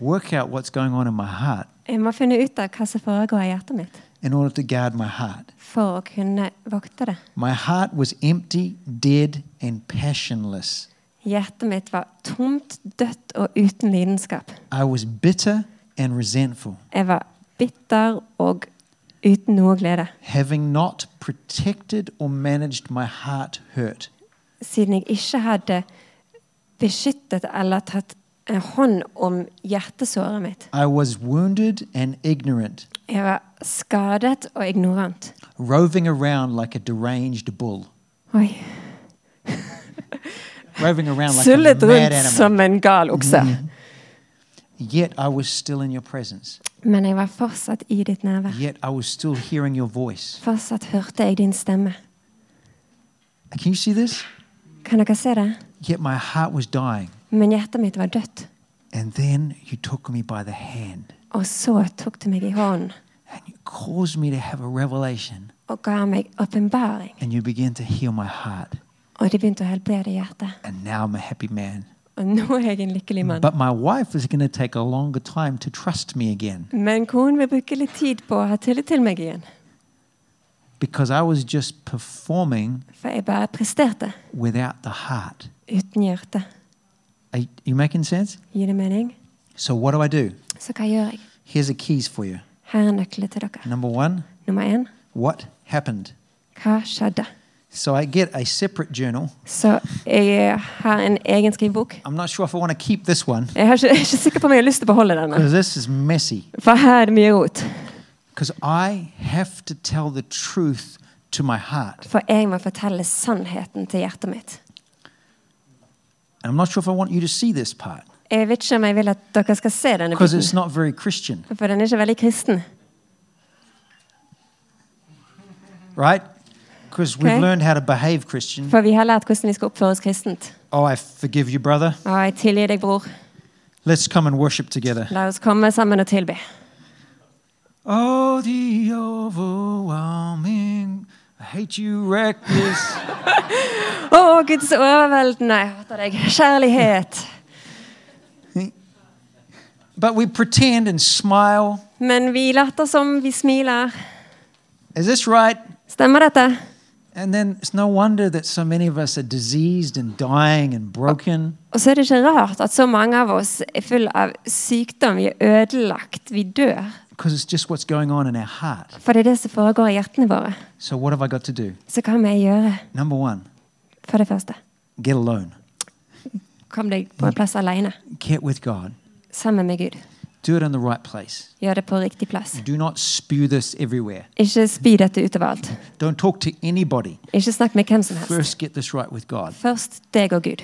work out what's going on in my heart
Jeg må finne ut av hva som foregår i hjertet mitt
in order to guard my heart.
for å kunne vokte det.
My heart was empty, dead, and passionless.
Hjertet mitt var tomt, dødt og uten lidenskap.
I was bitter and resentful,
Jeg var bitter og uten noe glede.
having not protected or managed my heart hurt.
Siden jeg ikke hadde beskyttet eller tatt en hånd om hjertesåret mitt.
I was wounded and ignorant,
Jeg var skadet og ignorant.
roving around like a deranged bull,
Oi.
roving around like a
Sullet
mad
rundt
animal.
som en gal okse.
Yet I was still in your presence.
Men jeg var fortsatt i ditt nærvær.
Yet I was still hearing your voice.
Fortsatt hørte jeg din stemme.
Can you see this?
Kan dere se det?
Yet my heart was dying.
Men hjertet mitt var dødt.
And then you took me by the hand
Og så tok du meg i hånden
and you caused me to have a revelation
og ga meg åpenbaring.
and you began to heal my heart.
Og det begynte å helbrede hjertet.
And now I'm a happy man.
Og nå er jeg en lykkelig mann.
But my wife is going to take a longer time to trust me again
Men konen vil bruke litt tid på å ha tillit til meg igjen.
because I was just performing
For jeg bare presterte
without the heart.
uten hjerte.
Are you making sense?
Gir det mening?
So, what do I do?
Så hva gjør jeg?
Here's the keys for you.
Her er nøkkelen til dere.
Number one,
Nummer én
what happened?
hva skjedde?
So, I get a separate journal.
Så jeg har en egen skrivebok.
I'm not sure if I want to keep this one
Jeg, har ikke, jeg er ikke sikker på om jeg har lyst til å beholde denne.
because this is messy.
For her er det mye rot.
Because I have to tell the truth to my heart.
For jeg må fortelle sannheten til hjertet mitt.
And I'm not sure if I want you to see this part
Jeg vet ikke om jeg vil at dere skal se denne
because
biten.
it's not very Christian,
For den er ikke veldig kristen.
right? Because we've
Okay.
learned how to behave Christian.
For vi har lært hvordan vi skal oppføre oss kristent.
Oh, I forgive you, brother.
Og jeg tilgir deg, bror.
Let's come and worship together.
La oss komme sammen og tilbe.
Oh, the overwhelming. I hate you, reckless.
Å, Guds overveldende, jeg hater deg. Kjærlighet.
But we pretend and smile.
Men vi later som, vi smiler.
Is this right?
Stemmer dette?
And then it's no wonder that so many of us are diseased and dying and broken.
Og så er det ikke rart at så mange av oss er full av sykdom. Vi er ødelagt. Vi dør.
because it's just what's going on in our heart.
For det er det som foregår i hjertene våre.
So, what have I got to do?
Så hva må jeg gjøre?
Number one,
For det første, Mm.
get alone,
kom deg på en plass alene.
get with God,
Sammen med Gud.
do it in the right place.
Gjør det på riktig plass.
Do not spew this everywhere.
Ikke spy dette utover alt.
Don't talk to anybody.
Ikke snakk med hvem som helst.
First, get this right with God
Først deg og Gud.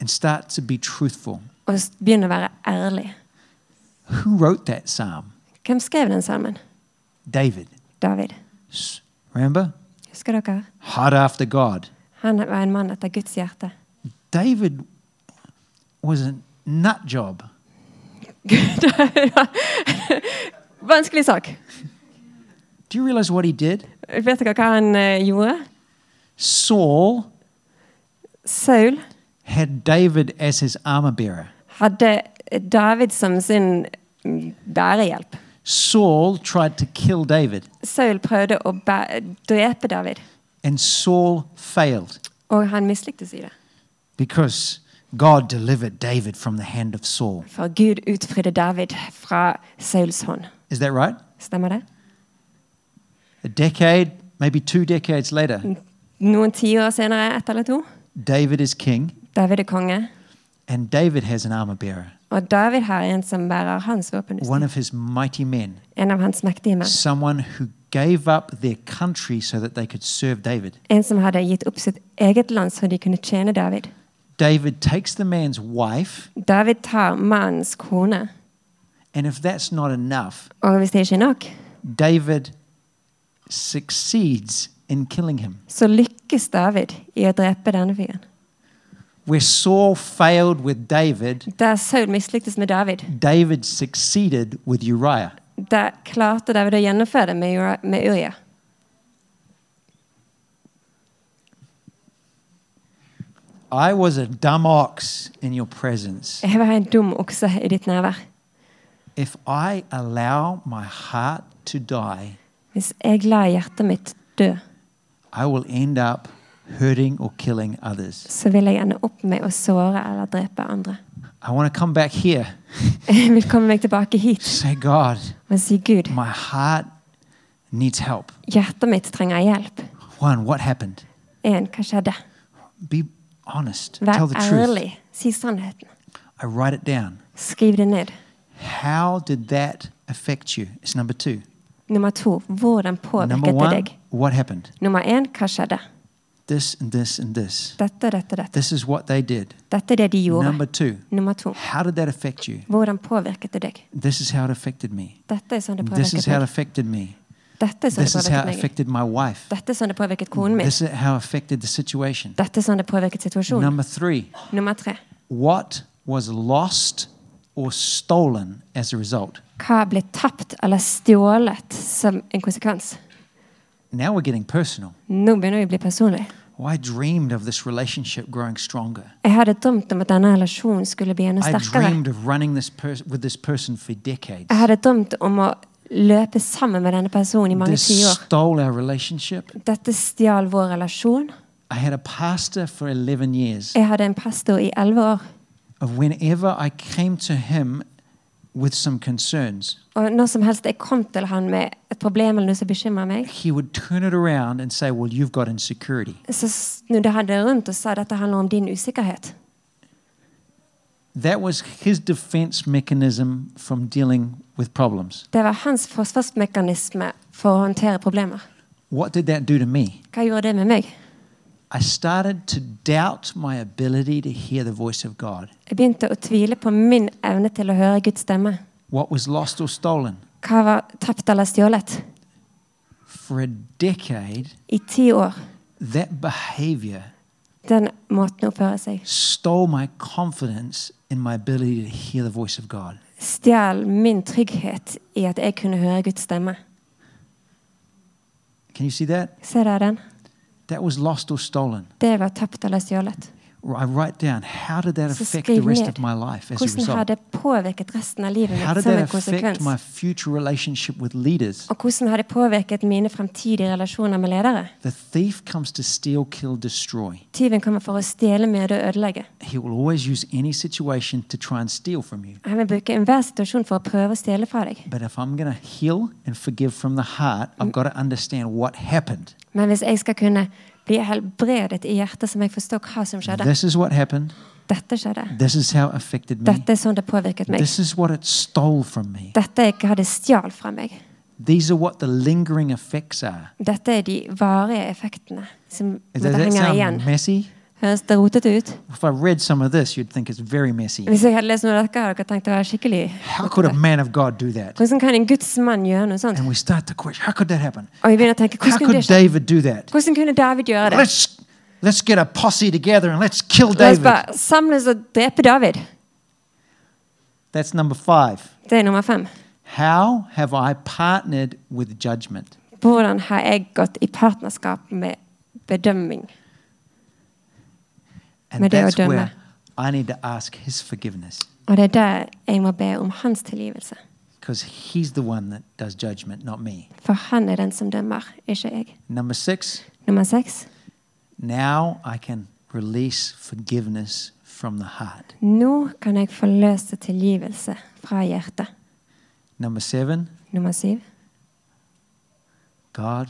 and start to be truthful.
Og s- begynn å være ærlig.
Who wrote that psalm?
Hvem skrev den salmen?
David.
David.
S- Remember?
Husker dere?
Hard after God.
Han var en mann etter Guds hjerte.
David was a nut job.
Vanskelig sak.
Do you realize what he did?
Vet dere hva han eh, gjorde?
Saul
Saul
had David as his armor bearer.
hadde David som sin mm, bærehjelp.
Saul tried to kill David,
Saul prøvde å bæ drepe David,
and Saul failed
og han mislyktes i det.
because God delivered David from the hand of Saul.
For Gud utfridde David fra Sauls hånd.
Is that right?
Stemmer det?
A decade, maybe two decades later,
Noen tiår senere, ett eller to,
David is king,
David er konge,
and David has an armor bearer,
og David har en som bærer hans
one
våpenutstyr.
of his mighty men,
En av hans mektige menn.
someone who gave up their country so that they could serve David.
En som hadde gitt opp sitt eget land så de kunne tjene David.
David takes the man's wife,
David tar mannens kone,
and if that's not enough,
og hvis det ikke er nok,
David succeeds in killing him.
så lykkes David i å drepe denne fyren.
Where Saul failed with David,
Der Saul mislyktes med David,
David succeeded with Uriah.
der klarte David å gjennomføre det med Uri- med Uria.
I was a dumb ox in your presence.
Jeg var en dum okse i ditt nærvær.
If I allow my heart to die,
Hvis jeg lar hjertet mitt dø,
I will end up hurting or killing others.
så vil jeg ende opp med å såre eller drepe andre.
I want to come back here,
Jeg vil komme meg tilbake hit
say, God,
og si Gud,
my heart needs help.
hjertet mitt trenger hjelp.
One, what happened?
En, hva skjedde?
Be honest, tell
Vær
the truth.
ærlig. Si sannheten.
I write it down.
Skriv det ned.
How did that affect you? It's number two.
Nummer to, hvordan
Number
påvirket det
one,
deg?
what happened?
Nummer én, hva skjedde?
This and this and this.
Dette, dette, dette.
This is what they did.
Dette er det de
Number
gjorde.
two,
Nummer to,
How did that affect you?
hvordan påvirket det deg?
This is how it affected me.
Dette er sånn det
This is
påvirket
how it
meg.
affected me.
Dette er sånn det
This is how
påvirket
it
meg.
affected my wife.
Dette er sånn det påvirket konen min.
This is how it affected the situation.
Dette er sånn det påvirket situasjonen.
Number three,
Nummer tre.
what was lost or stolen as a result?
Hva ble tapt eller stjålet som en konsekvens?
Now we're getting personal.
Nå begynner vi å bli personlig.
Oh, I dreamed of this relationship growing stronger.
Jeg hadde drømt om at denne relasjonen skulle bli enda
I
sterkere.
dreamed of running this pers- with this person for decades.
Jeg hadde drømt om å løpe sammen med denne personen i mange
This
tiår.
stole our relationship.
Dette stjal vår relasjon.
I had a pastor for 11 years.
Jeg hadde en pastor i elleve år.
Of whenever I came to him with some concerns,
Og når som helst jeg kom til han med et problem eller noe som bekymrer meg,
he would turn it around and say, Well, you've got insecurity.
så snudde han det rundt og sa dette handler om din usikkerhet.
That was his defense mechanism from dealing with problems.
Det var hans forsvarsmekanisme for å håndtere problemer.
What did that do to me?
Hva gjorde det med meg?
I started to doubt my ability to hear the voice of God.
Jeg begynte å tvile på min evne til å høre Guds stemme.
What was lost or stolen?
Hva var tapt eller stjålet?
For a decade,
I ti år.
that behavior
Den måten å oppføre seg.
stole my confidence in my ability to hear the voice of God.
Stjal min trygghet i at jeg kunne høre Guds stemme.
Can you see that?
Se der den.
That was lost or stolen.
Det var tapt eller stjålet.
I write down how did that
Så
affect the
skriv
rest
ned.
of my life as a
Hvordan har
result?
det påvirket resten av livet
How
mitt
did
som
that
en
affect
konsekvens?
my future relationship with leaders?
Og hvordan har det påvirket mine fremtidige relasjoner med ledere?
The thief comes to steal, kill, destroy.
Tyven kommer for å stjele, myrde og ødelegge.
He will always use any situation to try and steal from you.
Han vil bruke enhver situasjon for å prøve å stjele fra deg.
But if I'm going to heal and forgive from the heart,
Mm.
I've got to understand what happened.
Men hvis jeg skal kunne bli helbredet i hjertet, så må jeg forstå hva som skjedde.
This is what happened.
Dette skjedde.
This is how it affected me.
Dette er sånn det påvirket meg.
This is what it stole from me.
Dette er hva det stjal fra meg.
These are what the lingering effects are.
Dette er de varige effektene som
Does that,
måtte henger
sound
igjen.
messy?
Høres det rotete ut?
If I read some of this, you'd think it's very messy.
Hvis jeg hadde lest noe av dette, hadde dere tenkt det var skikkelig
How could a man of God do that?
Hvordan kan en Guds mann gjøre noe sånt?
And we start to question, how could that happen?
Og jeg begynner å tenke,
How
hvordan kunne,
could
det skje?
David do that?
hvordan kunne David gjøre det?
Let's let's get a posse together and let's kill
La oss
David.
bare samles og drepe David.
That's number 5.
Det er nummer fem.
How have I partnered with judgment?
Hvordan har jeg gått i partnerskap med bedømming?
And
Med det å
that's
dømme.
where I need to ask his forgiveness
Og det er der jeg må be om hans tilgivelse.
because he's the one that does judgment, not me.
For han er den som dømmer, ikke jeg.
Number 6.
Nummer seks.
Now I can release forgiveness from the heart.
Nå kan jeg forløse tilgivelse fra hjertet.
Number 7.
Nummer syv.
God,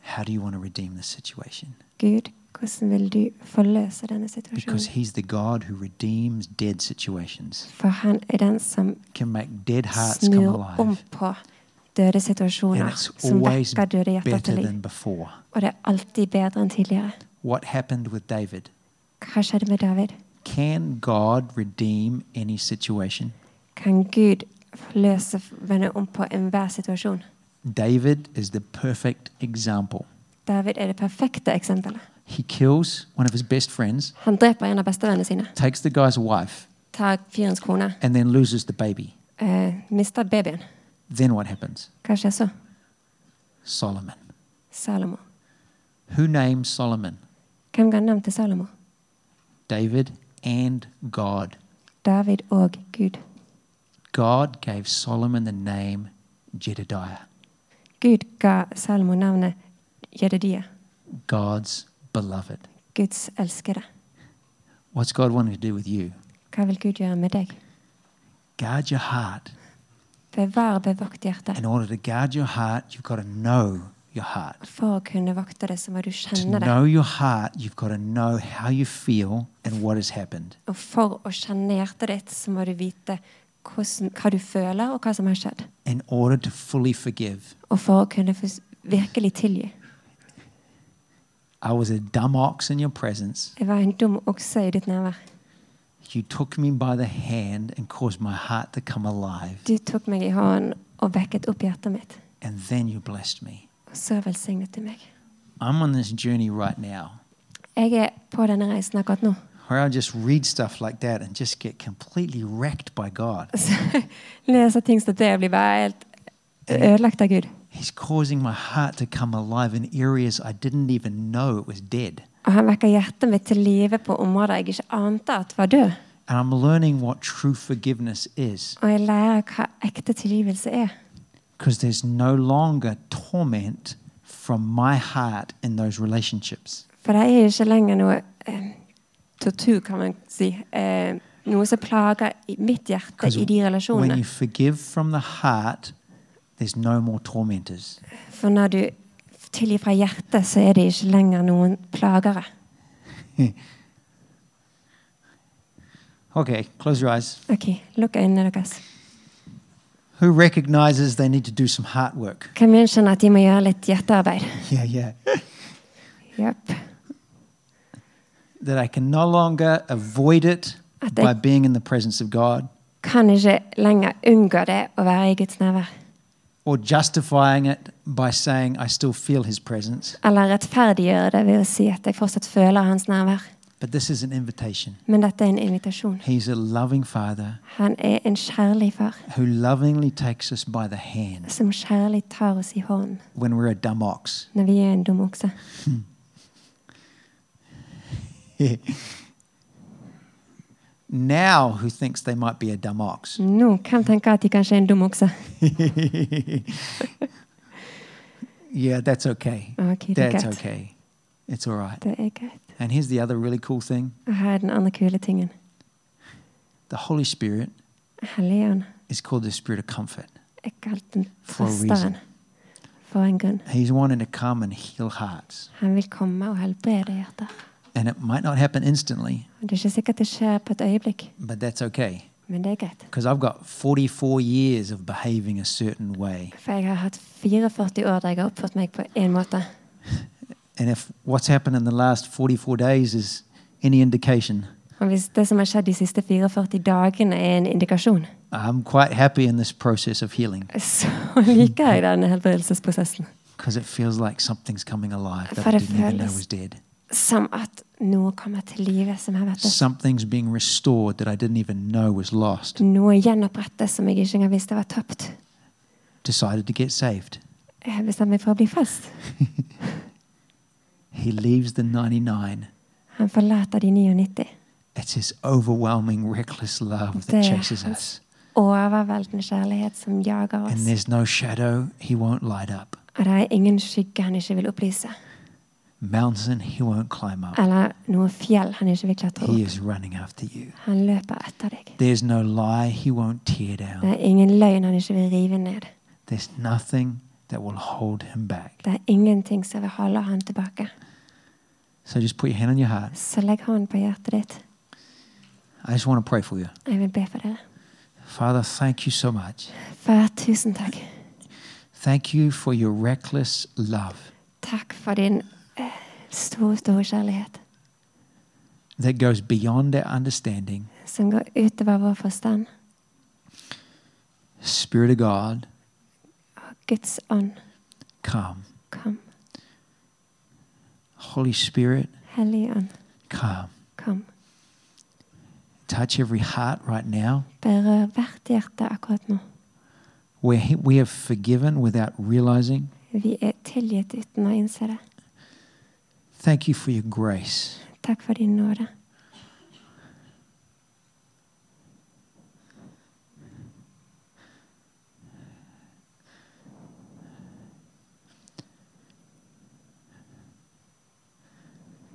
how do you want to redeem this situation?
Gud, hvordan vil du forløse denne
Because
situasjonen?
he's the God who redeems dead situations,
For han er den som
can make dead hearts come
snur om
alive.
på døde
And
situasjoner,
it's
som
always
vekker døde hjerter
better
til liv.
than before.
Og det er alltid bedre enn tidligere.
What happened with David?
Hva skjedde med David?
Can God redeem any situation?
Kan Gud forløse vende om på enhver situasjon?
David is the perfect example.
David er det perfekte eksempelet.
He kills one of his best friends,
Han dreper en av bestevennene sine,
takes the guy's wife,
tar fyrens kone,
and then loses the baby.
eh, mister babyen.
Then what happens?
Hva skjer så?
Solomon.
Salomo.
Who named Solomon?
Hvem ga navn til Salomo?
David and God.
David og Gud.
God gave Solomon the name Jedediah,
Gud ga Salomo navnet Jededia,
God's beloved.
Guds elskede.
What's God wanting to do with you?
Hva vil Gud gjøre med deg?
Guard your heart.
Bevar og bevokt hjertet.
In order to guard your heart, you've got to know your heart.
For å kunne vokte det, så må du
To
kjenne det.
know your heart, you've got to know how you feel and what has happened.
Og for å kjenne hjertet ditt, så må du vite hvordan, hva du føler, og hva som har skjedd.
In order to fully forgive.
Og for å kunne fors- virkelig tilgi.
I was a dumb ox in your presence.
Jeg var en dum okse i ditt nærvær.
You took me by the hand and caused my heart to come alive.
Du tok meg i hånden og vekket opp hjertet mitt.
And then you blessed me.
Og så velsignet du meg.
I'm on this journey right now
Jeg er på denne reisen akkurat nå.
where I just read stuff like that and just get completely wrecked by God.
Så jeg leser ting som det og blir bare helt ødelagt av Gud.
He's causing my heart to come alive in areas I didn't even know it was dead.
Og han vekker hjertet mitt til live på områder jeg ikke ante at var død.
And I'm learning what true forgiveness is.
Og jeg lærer hva ekte tilgivelse er.
because there's no longer torment from my heart in those relationships.
For det er jo ikke lenger noe eh, tortur, kan man si. Eh, noe som plager i mitt hjerte
'Cause
i de
When
relasjonene.
you forgive from the heart, there's no more tormentors.
For når du tilgir fra hjertet, så er det ikke lenger noen plagere.
Okay, close your eyes.
Ok, Lukk øynene deres.
Who recognizes they need to do some heart work?
Hvem gjenkjenner at de må gjøre litt hjertearbeid?
Yeah, yeah.
Jøp.
that I can no longer avoid it
Att det-
by being in the presence of God
Kan ikke lenger unngå det å være i Guds nærvær.
or justifying it by saying I still feel his presence.
Eller rettferdiggjøre det ved å si at jeg fortsatt føler hans nærvær.
But this is an invitation.
Men dette er en invitasjon.
He's a loving father
Han er en kjærlig far
who lovingly takes us by the hand
som kjærlig tar oss i hånden
when we're a dumb ox.
når vi er en dum okse.
now who thinks they might be a dumb ox.
Nå, hvem tenker at de kanskje er en dum okse?
yeah, that's okay.
Ok, det er
That's
greit.
okay. It's all right.
Det er greit.
And here's the other really cool thing
Og her er den andre kule tingen.
the Holy Spirit
Helligånd
is called the Spirit of Comfort.
er kalt den
For a
trøsteren. For en grunn.
He's wanting to come and heal hearts.
Han vil komme og helbrede hjerter.
And it might not happen instantly,
Og Det er ikke sikkert det skjer på et øyeblikk,
but that's okay.
men det er greit.
Because I've got 44 years of behaving a certain way.
For jeg har hatt 44 år der jeg har oppført meg på én måte.
And if what's happened in the last 44 days is any indication,
Og hvis det som har skjedd de siste 44 dagene er en indikasjon,
I'm quite happy in this process of healing
så liker jeg denne helbredelsesprosessen.
because it feels like something's coming alive that I
Father,
didn't even know
fearless.
was dead.
Som at noe kommer til live som har vært dødt.
Something's being restored that I didn't even know was lost.
Noe gjenopprettes som jeg ikke engang visste var tapt.
Decided to get saved.
Jeg bestemte meg for å bli fast.
He leaves the 99.
Han forlater de 99.
It's his overwhelming, reckless love that
There.
chases us.
Overveldende kjærlighet som jager
And
oss.
there's no shadow he won't light up,
Og det er ingen skygge han ikke vil opplyse.
mountain he won't climb up.
Eller noe fjell han ikke vil klatre
He
opp.
is running after you.
Han løper etter deg.
There's no lie he won't tear down.
Det er ingen løgn han ikke vil rive ned.
There's nothing that will hold him back.
Det er ingenting som vil holde han tilbake.
So just put your hand on your heart.
Så legg hånden på hjertet ditt.
I just want to pray for you.
Jeg vil be for dere.
Father, thank you so much.
Far, tusen takk.
Thank you for your reckless love
Takk for din eh, store, store kjærlighet,
that goes beyond our understanding.
som går utover vår forstand.
Spirit of God,
Og Guds ånd,
come.
kom.
Holy Spirit,
Hellige ånd,
come.
kom.
Touch every heart right now
Berør hvert hjerte akkurat nå.
where he- we have forgiven without realizing.
Vi er tilgitt uten å innse det.
Thank you for your grace.
Takk for din nåde.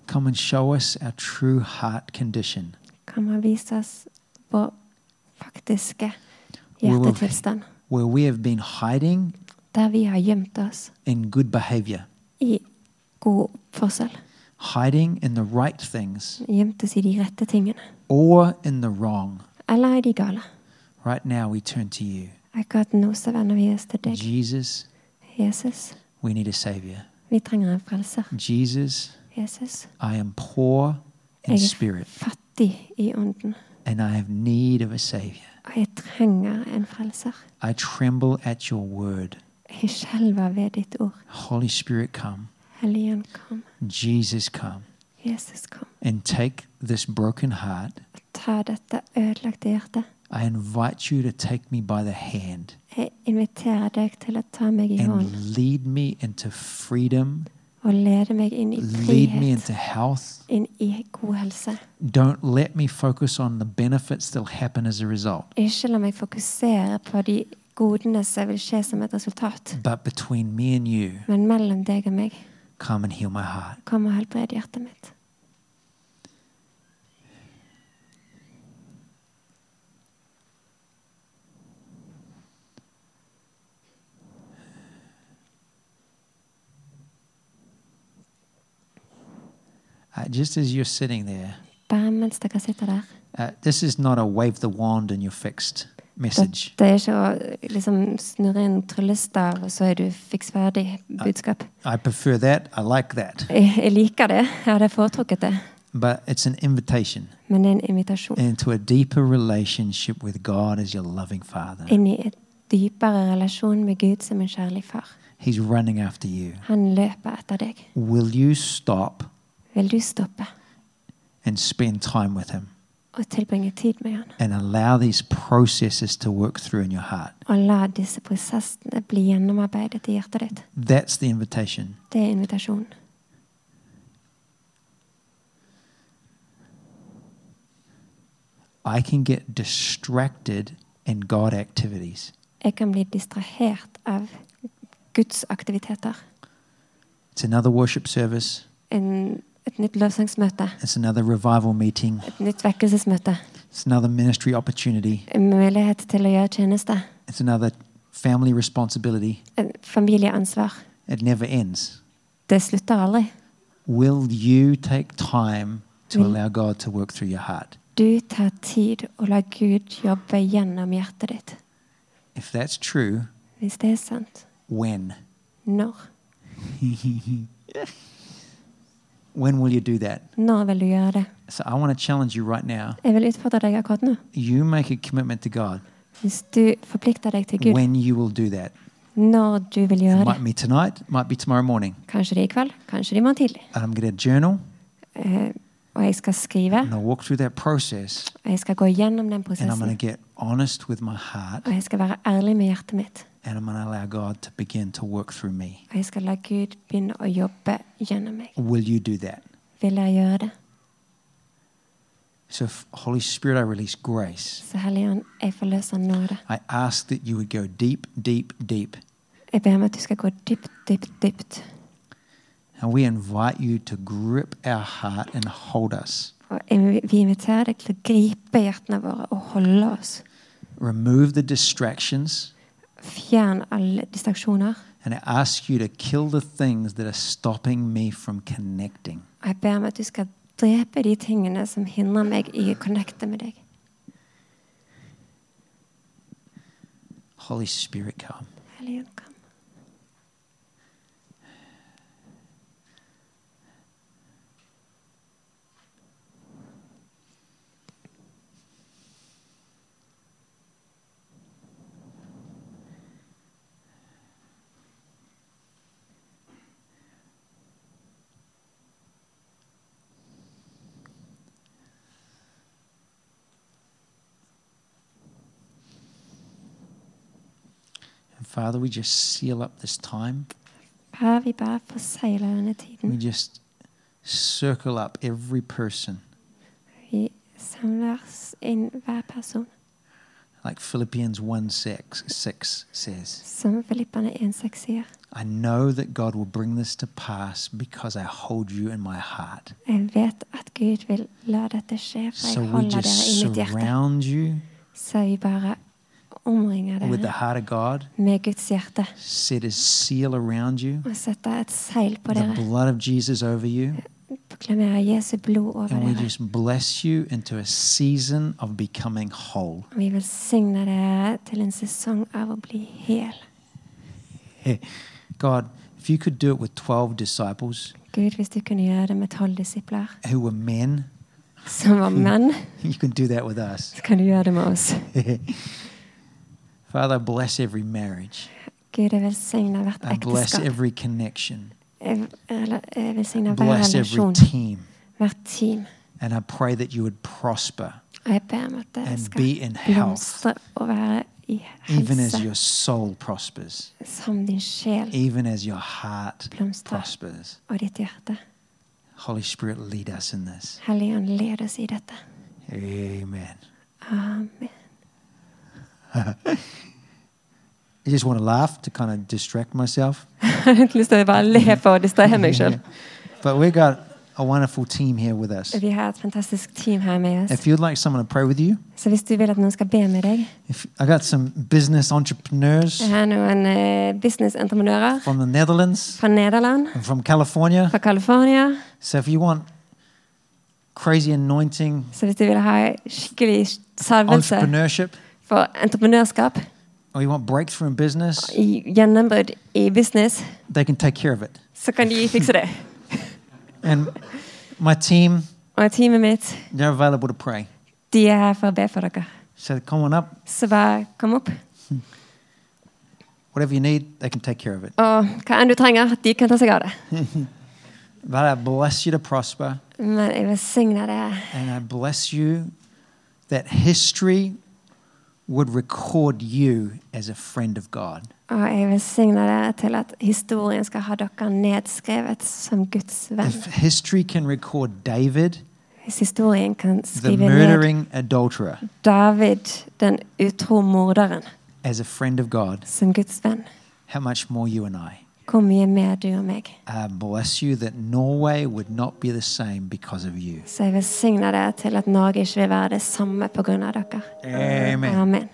Come and show us our true heart condition.
Kan man vise oss vår faktiske
Hvor var vi?
hjertetilstand,
where we have been hiding
der vi har gjemt oss
in good behavior,
i god oppførsel.
hiding in the right things
Gjemt oss i de rette tingene.
or in the wrong.
Eller er de gale?
Right now, we turn to you.
Akkurat nå så vender vi oss til deg,
Jesus,
Jesus.
we need a Savior.
Vi trenger en frelser.
Jesus,
Jesus,
I am poor in
Amen.
spirit
fattig i ånden,
and I have need of a Savior.
og jeg trenger en frelser.
I tremble at your word.
Jeg skjelver ved ditt ord.
Holy Spirit, come.
Helligånd, kom.
Jesus, come
Jesus, kom.
and take this broken heart.
Ta dette ødelagte hjertet.
I invite you to take me by the hand
Jeg inviterer deg til å ta meg i hånden
and lead me into freedom
og lede meg inn i
lead me
frihet,
into health.
inn i god helse.
Don't let me focus on the benefits that'll happen as a result,
Ikke la meg fokusere på de godene som vil skje som et resultat,
but between me and you,
men mellom deg og meg
come and heal my heart.
kom og helbred hjertet mitt.
Uh, just as you're sitting there,
Bare mens dere sitter der.
uh, this is not a wave the wand and you're fixed message.
Det er ikke å liksom, snurre inn tryllestav, og så er du fiks ferdig budskap.
I prefer that. I like that.
Jeg, jeg liker det. Jeg hadde foretrukket det.
But it's an invitation
Men det er en invitasjon
into a deeper relationship with God as your loving Father.
inn i et dypere relasjon med Gud som en kjærlig far.
He's running after you.
Han løper etter deg.
Will you stop
Vil du stoppe
and spend time with Him
og tilbringe tid med han?
and allow these processes to work through in your heart?
Og la disse prosessene bli gjennomarbeidet i hjertet ditt.
That's the invitation.
Det er invitasjonen.
I can get distracted in God activities.
Jeg kan bli distrahert av Guds aktiviteter.
It's another worship service,
En, et nytt lovsangsmøte,
it's another revival meeting,
et nytt vekkelsesmøte,
it's another ministry opportunity,
en mulighet til å gjøre tjeneste,
it's another family responsibility.
en familieansvar.
It never ends.
Det slutter aldri.
Will you take time to
Will-
allow God to work through your heart?
Du tar tid og lar Gud jobbe gjennom hjertet ditt.
If that's true,
Hvis det er sant,
when?
når?
When will you do that?
Når vil du gjøre det?
So I want to challenge you right now.
Jeg vil utfordre deg akkurat nå.
You make a commitment to God
Hvis du forplikter deg til Gud
when you will do that.
når du vil
It
gjøre det
might be tonight, it might be tomorrow morning.
Kanskje det er i kveld, kanskje det er i morgen tidlig.
And I'm going to journal
Eh, og jeg skal skrive,
and I'll walk through that process
og jeg skal gå gjennom den
and I'm going
prosessen.
to get honest with my heart
Og jeg skal være ærlig med hjertet mitt.
and I'm going to allow God to begin to work through me.
Og jeg skal la Gud begynne å jobbe gjennom meg.
Will you do that?
Vil jeg gjøre det?
So, f- Holy Spirit, I release grace.
Så Hellige Ånd, jeg forløser nåde.
I ask that you would go deep, deep, deep.
Jeg ber om at du skal gå dypt, dypt, dypt.
And we invite you to grip our heart and hold us.
Og jeg- vi inviterer deg til å gripe hjertene våre og holde oss.
Remove the distractions.
Fjern alle distraksjoner.
And I ask you to kill the things that are stopping me from connecting.
Og jeg ber om at du skal drepe de tingene som hindrer meg i å connecte med deg.
Holy Spirit, come.
Hellige Ånd, kom.
And Father, we just seal up this time.
Her vi bare forsegler denne
We
tiden.
just circle up every person.
Vi samler oss inn hver person,
Like Philippians 1 6, 6 says,
som Filipperne 1,6 sier.
I know that God will bring this to pass because I hold you in my heart.
Jeg vet at Gud vil la dette skje, for
So
jeg
we
holder dere
just
i mitt hjerte.
surround you
Så vi bare omringer
with the
dere
heart of God,
med Guds hjerte
set his seal around you,
og setter et seil på
the
dere.
blood of Jesus over you.
Proklamerer Jesu blod over
And we
dere.
just bless you into a season of becoming whole.
Og vi velsigner dere til en sesong av å bli hel.
Hey, God, if you could do it with 12 disciples
Gud, hvis du kunne gjøre det med tolv disipler
who were men,
som
Mm.
var menn,
you can do that with us.
så kan du gjøre det med oss.
Father, bless every marriage.
Gud, jeg velsigner hvert
I bless
ekteskap.
every connection.
Jeg, eller, jeg velsigner hver
Bless every
relasjon,
team.
hvert team.
And I pray that you would prosper,
Og jeg ber om at dere
And
skal
be in health.
blomstre og være i
even as
helse,
your soul prospers,
som din sjel
even as your heart
blomstrer,
prospers.
og ditt hjerte.
Holy Spirit, lead us in this.
Hellige Ånd, led oss i dette.
Amen.
Amen.
I just want to laugh to kind of distract myself.
Jeg har egentlig lyst til å bare le for å distrahere meg sjøl.
But we've got a wonderful team here with us.
Vi har et fantastisk team her med oss.
If you'd like someone to pray with you,
Så hvis du vil at noen skal be med deg
if I got some business entrepreneurs
Jeg har noen eh, businessentreprenører
from the Netherlands
fra Nederland,
and from California.
fra California.
So if you want crazy anointing,
Så hvis du vil ha skikkelig salvelse
entrepreneurship,
for entreprenørskap,
or you want breakthrough in business,
i gjennombrudd i business,
they can take care of it.
så kan de fikse det.
And my team,
Og teamet mitt,
they're available to pray.
de er her for å be for dere.
So come on up,
Så bare kom opp.
whatever you need, they can take care of it.
Og hva enn du trenger, de kan ta seg av det.
But I bless you to prosper,
Men jeg velsigner det.
and I bless you that history would record you as a friend of God.
Og jeg velsigner det til at historien skal ha dere nedskrevet som Guds venn.
If history can record David
Hvis historien kan
the
skrive ned
murdering adulterer
David, den utro morderen,
as a friend of God,
som Guds venn.
how much more you and I?
Hvor mye mer du og meg.
I bless you that Norway would not be the same because of you.
Så jeg velsigner dere til at Norge ikke vil være det samme pga. dere.
Amen.
Amen.